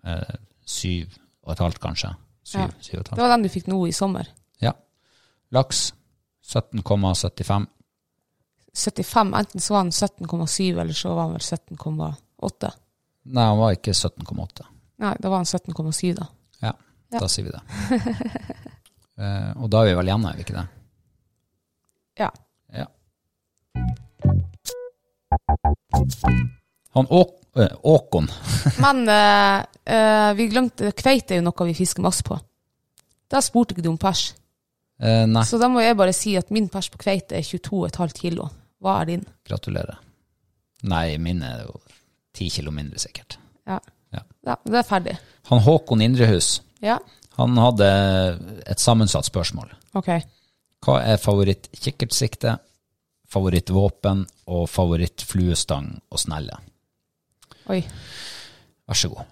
Eh, syv og et halvt, kanskje. Syv,
Ja.
syv og et
Det
halvt.
var den du fikk nå i sommer.
Ja. Laks, 17,75.
75, enten så var den 17,7, eller så var den vel 17,8.
Nei, han var ikke 17,8.
Nei, da var den 17,7 da.
Ja,
Ja.
da sier vi det. [laughs] eh, og da er vi vel hjemme, er vi ikke det?
Ja.
Ja. Han Åk eh, Åkon
Men eh, eh, vi glemte kveite er jo noe vi fisker masse på. Da spurte ikke du om pers.
eh, Nei,
Så da må jeg bare si at min pers på kveite er 22,5 kilo. Hva er din?
gratulerer. Nei, min er jo ti kilo mindre, sikkert.
Ja.
Ja.
Ja, det er ferdig.
Han Håkon Indrehus
Ja.
han hadde et sammensatt spørsmål.
Ok.
Hva er favorittkikkertsikte, favorittvåpen og favorittfluestang og snelle?
Oi.
Vær så god.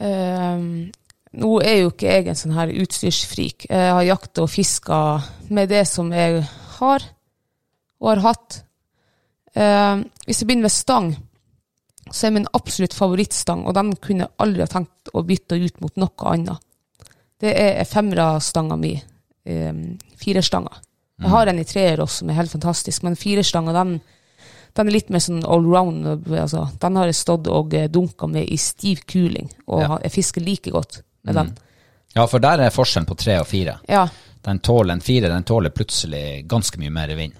Ehm, nå er jo ikke jeg en sånn her utstyrsfrik. Jeg har jakta og fiska med det som jeg har, og har hatt. Ehm, hvis jeg begynner med stang, så er min absolutt favorittstang, og den kunne jeg aldri ha tenkt å bytte ut mot noe annet. Det er femmerstanga mi. Um, firestanga. Jeg har en i treer også, som er helt fantastisk, men firestanga, den den er litt mer sånn allround. Altså. Den har jeg stått og dunka med i stiv kuling, og
Ja.
jeg fisker like godt med den.
Ja, for der er forskjellen på tre og fire.
Ja,
Den tåler en fire, den tåler plutselig ganske mye mer vind.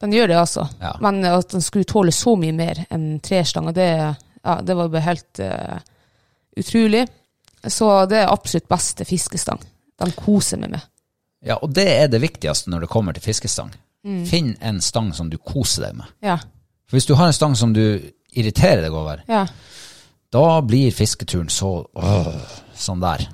den gjør det, altså.
Ja.
Men at den skulle tåle så mye mer enn trestanga, det, ja, det var bare helt eh, utrolig. Så det er absolutt beste fiskestang. Den koser meg med.
Ja, og det er det viktigste når det kommer til fiskestang.
Mm.
Finn en stang som du koser deg med.
Ja,
For hvis du har en stang som du irriterer deg over,
ja.
da blir fisketuren så åh, sånn der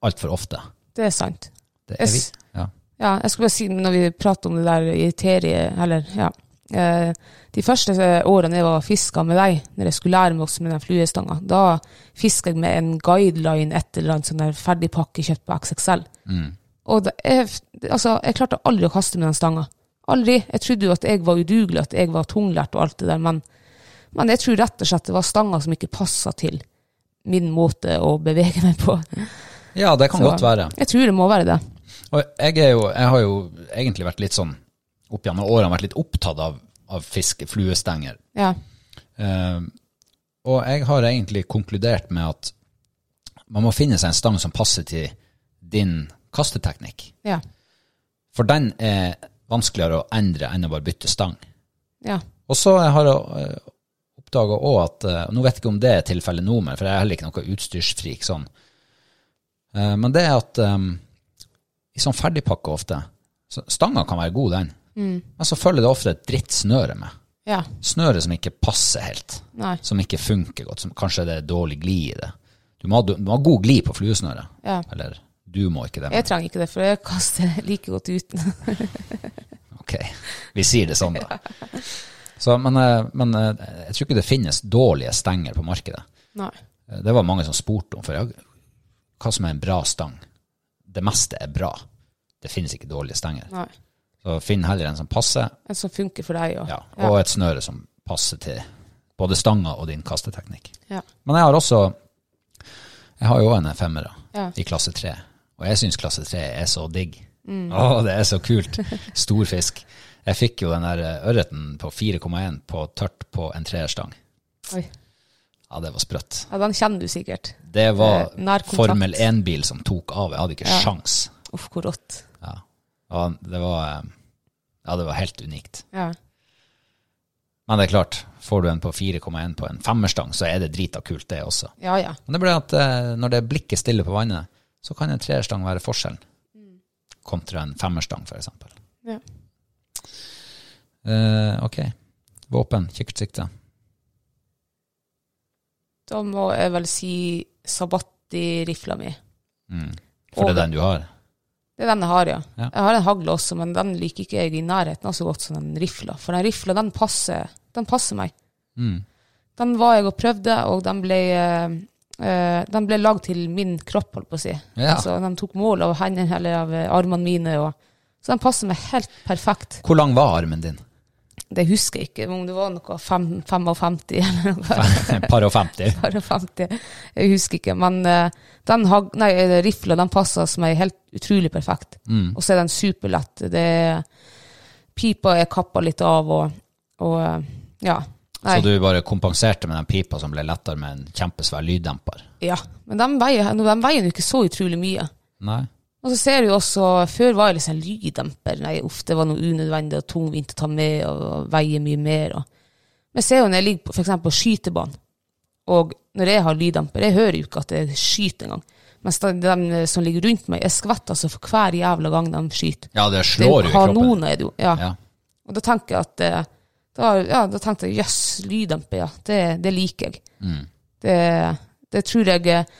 altfor ofte.
Det er sant.
Det er vi.
Yes.
Ja.
Ja, jeg skulle bare si når vi prater om det der i terie, eller ja. Eh, de første eh, årene jeg var fiska med deg, når jeg skulle lære meg også med den fluestanga, da fiska jeg med en guideline, et eller annet sånn der ferdigpakke kjøpt på XXL. Og da, jeg, altså, jeg klarte aldri å kaste med den stanga. Aldri. Jeg trodde jo at jeg var udugelig, at jeg var tunglært og alt det der, men, men jeg tror rett og slett det var stanga som ikke passa til min måte å bevege meg på.
ja, det kan
Så
godt være.
Jeg tror det må være det.
Og Og jeg, er jo, jeg har jo egentlig vært litt sånn opp gjennom årene vært litt opptatt av, av fiske, fluestenger.
Ja.
Eh, og jeg har egentlig konkludert med at man må finne seg en stang som passer til din kasteteknikk.
Ja.
For den er vanskeligere å endre enn å bare bytte stang.
Ja.
Og så har jeg oppdaga òg at eh, Nå vet jeg ikke om det er tilfellet nå, men for jeg er heller ikke noe utstyrsfrik sånn. Eh, Men det er at eh, i sånn ferdigpakke ofte så Stanga kan være god, den, men så følger det ofte et drittsnøre med.
ja.
Snøre som ikke passer helt,
Nei.
som ikke funker godt, som kanskje det er dårlig glid i det. Du må ha, du må ha god glid på fluesnøret.
Ja.
Eller du må ikke det.
Jeg trenger ikke det, for jeg kaster [laughs] like godt uten.
Ok, vi sier det sånn da. Så, men, eh, men eh, jeg tror ikke det finnes dårlige stenger på markedet.
Nei.
Eh, Det var mange som spurte om, for jeg, hva som er en bra stang? Det meste er bra. Det finnes ikke dårlige stenger.
Nei.
Så finn heller en som passer,
En som funker for deg òg.
ja, og et snøre som passer til både stanga og din kasteteknikk.
Ja.
Men jeg har også, jeg har jo en femmer da,
Ja.
i klasse 3, og jeg synes klasse 3 er så digg.
Mm.
Åh, det er så kult. Stor fisk. Jeg fikk jo den der eh, ørreten på 4,1 på tørt på en treerstang.
Oi.
Ja, det var sprøtt.
ja, den kjenner du sikkert.
Det var
Eh, nærkontakt.
Formel 1-bil som tok av. Jeg hadde ikke
Ja.
sjans.
Uff, hvor rått.
Ja. Og det var, eh, ja, det var helt unikt.
Ja.
Men det er klart, får du en på 4,1 på en femmerstang, så er det drita kult det også.
ja, ja.
Men det ble at eh, når det er blikket stille på vannet, så kan en treerstang være forskjellen. Kontra en femmerstang, for eksempel.
Mm. Ja.
Eh, ok. Våpen, kikkertsikte.
Da må jeg vel si Sabatti-rifla mi.
Mm. For det er den du har?
Det er den jeg har, ja.
Ja.
Jeg har en hagle også, men den liker ikke jeg i nærheten av så godt som den rifla. For den rifla, den passer, den passer meg.
Mm.
Den var jeg og prøvde, og den ble, eh, eh, den ble lagd til min kropp, holdt på å si.
Ja.
Altså, den tok mål av hendene eller av eh, armene mine, og, så den passer meg helt perfekt.
Hvor lang var armen
[laughs]
din?
Det husker jeg ikke, om det var noe fem, 55 [laughs] eller noe.
Par og 50.
Bare 50. Jeg husker ikke, men eh, den hag- nei, eh, rifla den passer som er helt utrolig perfekt.
Mm.
Og så er den superlett. Det er, pipa er kappa litt av, og, og eh, ja. Nei,
Så du bare kompenserte med den pipa som ble lettere med en kjempesvær lyddemper?
ja. Men de veier, de veier jo ikke så utrolig mye.
Nei.
Og så ser du jo også, før var det liksom lyddemper, nei, uff, det var noe unødvendig og tungvint å ta med, og veie mye mer. Og. Men jeg ser jo når jeg ligger på, for eksempel på skytebanen, og når jeg har lyddemper, jeg hører jo ikke at jeg skyter engang. Mens de, de som ligger rundt meg, jeg skvetter altså for hver jævla gang de skyter.
Ja, det
Det er
slår
jo
jo i kroppen.
kanoner, er det jo. Ja.
Ja.
Og da tenker jeg at eh, da, ja, da tenkte jeg jøss, lyddemper, ja. Det, det liker jeg. Det, det tror jeg eh,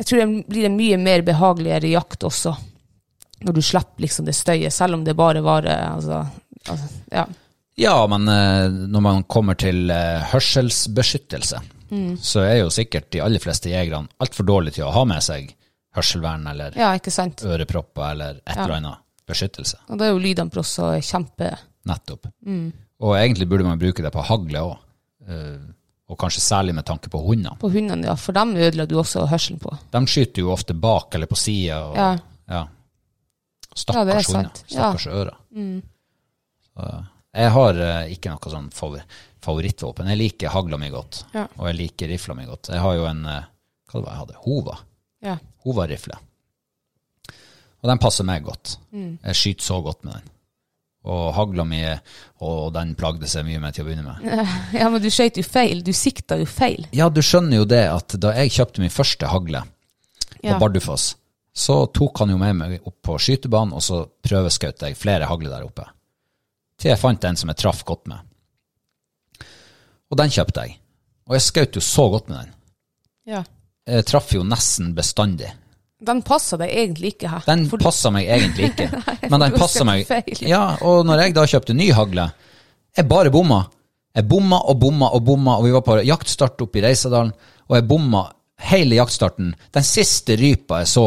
Jeg tror det blir en mye mer behageligere jakt også. Når du slipper liksom det støyet, selv om det bare var eh, altså, altså, ja.
ja, men eh, når man kommer til eh, hørselsbeskyttelse,
Mm.
så er jo sikkert de aller fleste jegerne altfor dårlige til å ha med seg hørselvern eller
ja, ikke sant?
ørepropper eller et eller annet beskyttelse.
Og da er jo lyddemper også kjempe
Nettopp.
Mm.
Og egentlig burde man bruke det på hagle òg, og kanskje særlig med tanke på hundene.
På hundene, ja, for dem ødela du også hørselen på.
De skyter jo ofte bak eller på sida.
Ja.
Ja.
Ja, det er
Stakkars hunder.
sant. Ja. Mm.
Stakkars ører. Så, Jeg har eh, ikke noe sånn favor favorittvåpen. Jeg liker hagla mi godt,
Ja.
og jeg liker rifla mi godt. Jeg har jo en eh, Hva det var jeg hadde? Hova.
Ja.
Hova-rifle. Og den passer meg godt.
Mm.
Jeg skyter så godt med den. Og hagla mi Og den plagde seg mye med til å begynne med.
ja, men du skøyt jo feil. Du sikta jo feil.
Ja, du skjønner jo det at da jeg kjøpte min første hagle på
Ja.
Bardufoss, så tok han jo med meg opp på skytebanen, og så prøveskjøt jeg flere hagler der oppe. Til jeg fant en som jeg traff godt med. Og den kjøpte jeg. Og jeg skjøt jo så godt med den.
Ja.
Jeg traff jo nesten bestandig.
Den passa deg egentlig ikke her.
Den passa meg egentlig
[laughs]
ikke, men den
du
passa
skjøt
meg
feil.
Ja, og når jeg da kjøpte ny hagle, jeg bare bomma. Jeg bomma og bomma og bomma, og vi var på jaktstart oppe i Reisadalen, og jeg bomma hele jaktstarten. Den siste rypa jeg så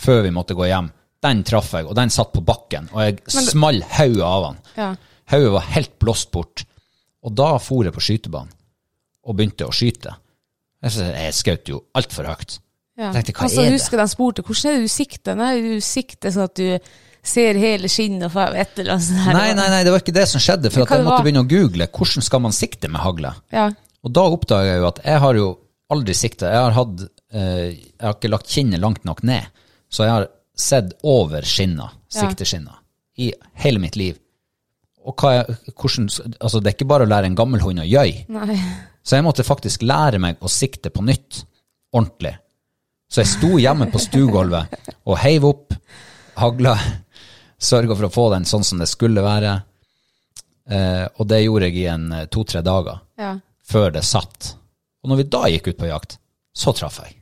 før vi måtte gå hjem, den traff jeg, og den satt på bakken, og jeg small hodet av han.
Ja.
Hodet var helt blåst bort. Og da for jeg på skytebanen og begynte å skyte. Jeg, synes jeg skjøt jo altfor høyt.
Ja.
Jeg tenkte, hva
altså,
er det?
husker de spurte hvordan er det du sikter? Nei, du sikter sånn at du ser hele skinnet og fa- et eller annet sånt. her.
Nei, nei, nei, det var ikke det som skjedde, for
Hva
at jeg
det
måtte
var?
begynne å google hvordan skal man sikte med hagle.
Ja.
Og da oppdaga jeg jo at jeg har jo aldri sikta. Jeg har hatt eh, Jeg har ikke lagt kinnet langt nok ned. Så jeg har sett over skinna,
Ja.
sikteskinna, i hele mitt liv. Og hva jeg, hvordan, altså det er ikke bare å lære en gammel hund å gjøy.
Nei.
Så jeg måtte faktisk lære meg å sikte på nytt. Ordentlig. Så jeg sto hjemme på stuegulvet og heiv opp hagla. Sørga for å få den sånn som det skulle være. Eh, og det gjorde jeg i en eh, to-tre dager
Ja.
før det satt. Og når vi da gikk ut på jakt, så traff jeg.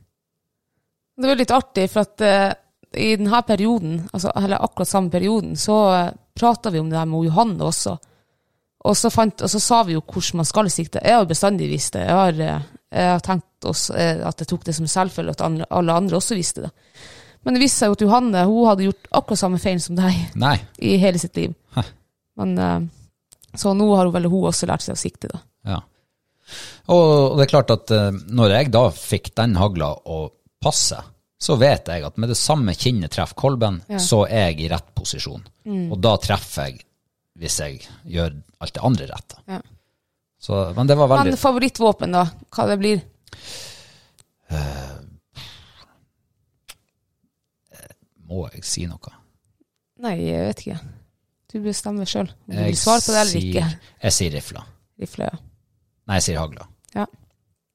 Det var litt artig, for at eh, i denne perioden, altså, eller akkurat samme perioden, så uh, prata vi om det her med Johanne også. Og så, fant, og så sa vi jo hvordan man skal sikte. Jeg har jo bestandig visst det. Jeg har, eh, jeg har tenkt også, eh, at jeg tok det som selvfølgelig at andre- alle andre også visste det. Men det viste seg jo at Johanne hun hadde gjort akkurat samme feil som deg
Nei.
i hele sitt liv.
Hæ.
Men, eh, så nå har hun vel hun også lært seg å sikte, da.
Ja. Og det er klart at eh, når jeg da fikk den hagla å passe, så vet jeg at med det samme kinnet treffer kolben, så er jeg i rett posisjon.
Mm.
Og da treffer jeg hvis jeg gjør alt det andre rette.
Ja.
Så, men det var veldig
Men favorittvåpen, da? Hva det blir?
Eh, Må jeg si noe?
Nei, jeg vet ikke. Du bestemmer sjøl om du
Jeg
vil svare på det eller ikke.
sier- Jeg sier rifla.
Rifle, ja.
Nei, jeg sier hagla.
Ja.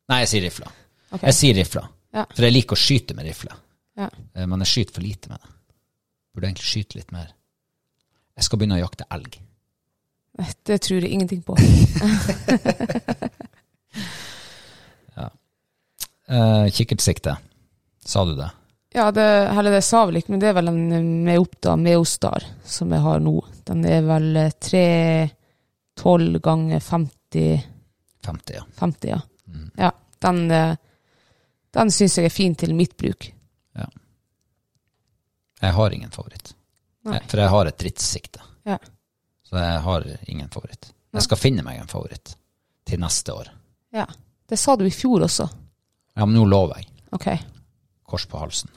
Nei, jeg sier rifla.
Ok.
Jeg sier rifla.
Ja.
For jeg liker å skyte med rifle.
Ja.
Eh, Men jeg skyter for lite med det. Burde egentlig skyte litt mer. Jeg skal begynne å jakte
[laughs]
elg.
Nei, Det tror jeg ingenting på.
Eh, kikkertsikte. Sa du det?
Ja, det, eller det sa vel ikke, men det er vel en eh, Meopta Meostar som jeg har nå. Den er vel eh, 312 ganger 50,
50, ja.
50 ja.
Mm.
ja den eh, den syns jeg er fin til mitt bruk.
Jeg har ingen favoritt.
Nei.
Jeg- For jeg har et drittsikte.
Ja.
Så jeg har ingen favoritt. Jeg skal finne meg en favoritt til neste år.
ja. Det sa du i fjor også.
Ja, men nå lover jeg.
Ok.
Kors på halsen.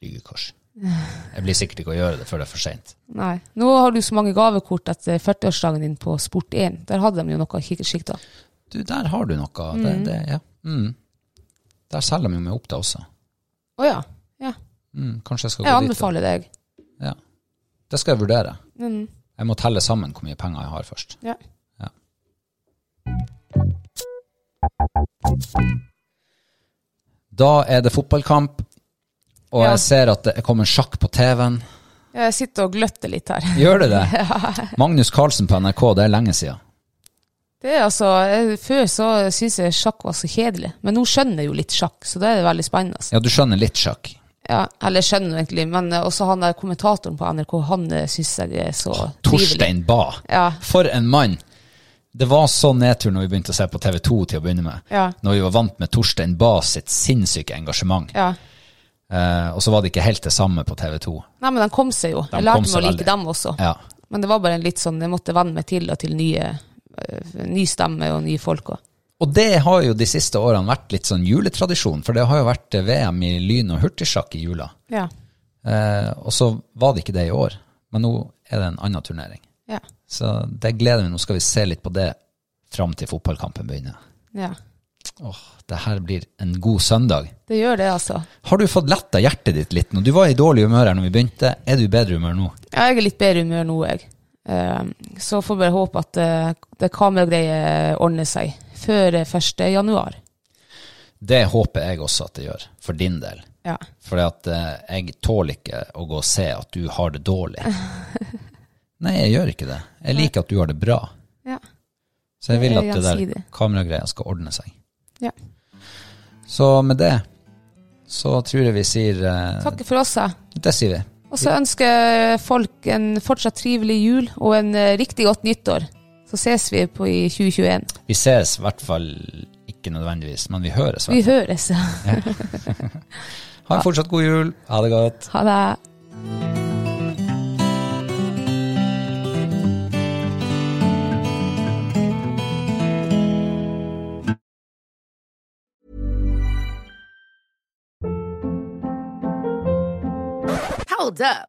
Lygekors. Jeg blir sikkert ikke å gjøre det før det er for seint.
Nei. Nå har du så mange gavekort etter 40-årsdagen din på Sport1. Der hadde de jo noe kikkertsikta.
Du, der har du noe. Det, det, ja. mm. Der selger de jo meg opp da også.
Å ja. ja.
Mm, kanskje jeg skal
Jeg
gå dit. da.
anbefaler deg.
Ja. Det skal jeg vurdere.
Mm.
Jeg må telle sammen hvor mye penger jeg har først.
Ja.
Ja. Da er det fotballkamp, og
Ja.
jeg ser at det kommer sjakk på TV-en.
Jeg sitter og gløtter litt her.
Gjør det det? Magnus Carlsen på NRK, det er lenge siden.
Det er altså, jeg- Før så syntes jeg sjakk var så kjedelig, men nå skjønner jeg jo litt sjakk, så da er det veldig spennende. altså.
Ja, du skjønner litt sjakk.
Ja, eller jeg skjønner jo egentlig, men eh, også han der kommentatoren på NRK, han eh, syns jeg er så trivelig.
Torstein Ba.
Ja.
For en mann! Det var så nedtur når vi begynte å se på TV2 til å begynne med.
Ja.
Når vi var vant med Torstein Ba sitt sinnssyke engasjement.
Ja.
Eh, og så var det ikke helt det samme på TV2.
Nei, men de kom seg jo.
De
Jeg
kom
lærte
seg
meg å like
veldig.
dem også.
Ja.
Men det var bare en litt sånn, jeg måtte venne meg til og til nye, eh, ny stemme og nye folk òg.
Og det har jo de siste årene vært litt sånn juletradisjon, for det har jo vært eh, VM i lyn- og hurtigsjakk i jula.
Ja.
Eh, og så var det ikke det i år, men nå er det en annen turnering.
Ja.
Så det gleder vi. Nå skal vi se litt på det fram til fotballkampen begynner.
ja.
Åh, det her blir en god søndag.
Det gjør det, altså.
Har du fått letta hjertet ditt litt nå? Du var i dårlig humør her når vi begynte. Er du i bedre humør nå?
Ja, jeg er litt bedre i humør nå, jeg. Eh, Så får bare håpe at eh, det kameragreiet ordner seg før eh, 1. januar.
Det håper jeg også at det gjør, for din del.
Ja.
Fordi at eh, jeg tåler ikke å gå og se at du har det dårlig. Nei, jeg gjør ikke det. Jeg liker at du har det bra.
Ja.
Så jeg vil
Det
at
er
det der
gjensidig.
kameragreia skal ordne seg.
Ja.
Så med det så tror jeg vi sier eh,
Takk for oss. jeg.
Det sier vi.
Og så ønsker folk en fortsatt trivelig jul og en eh, riktig godt nyttår. Så ses vi på i 2021.
Vi ses i hvert fall ikke nødvendigvis, men vi høres.
Vi
Vel?
høres. [laughs]
Ha en fortsatt god jul. Ha det godt.
Ha det.
Hold up.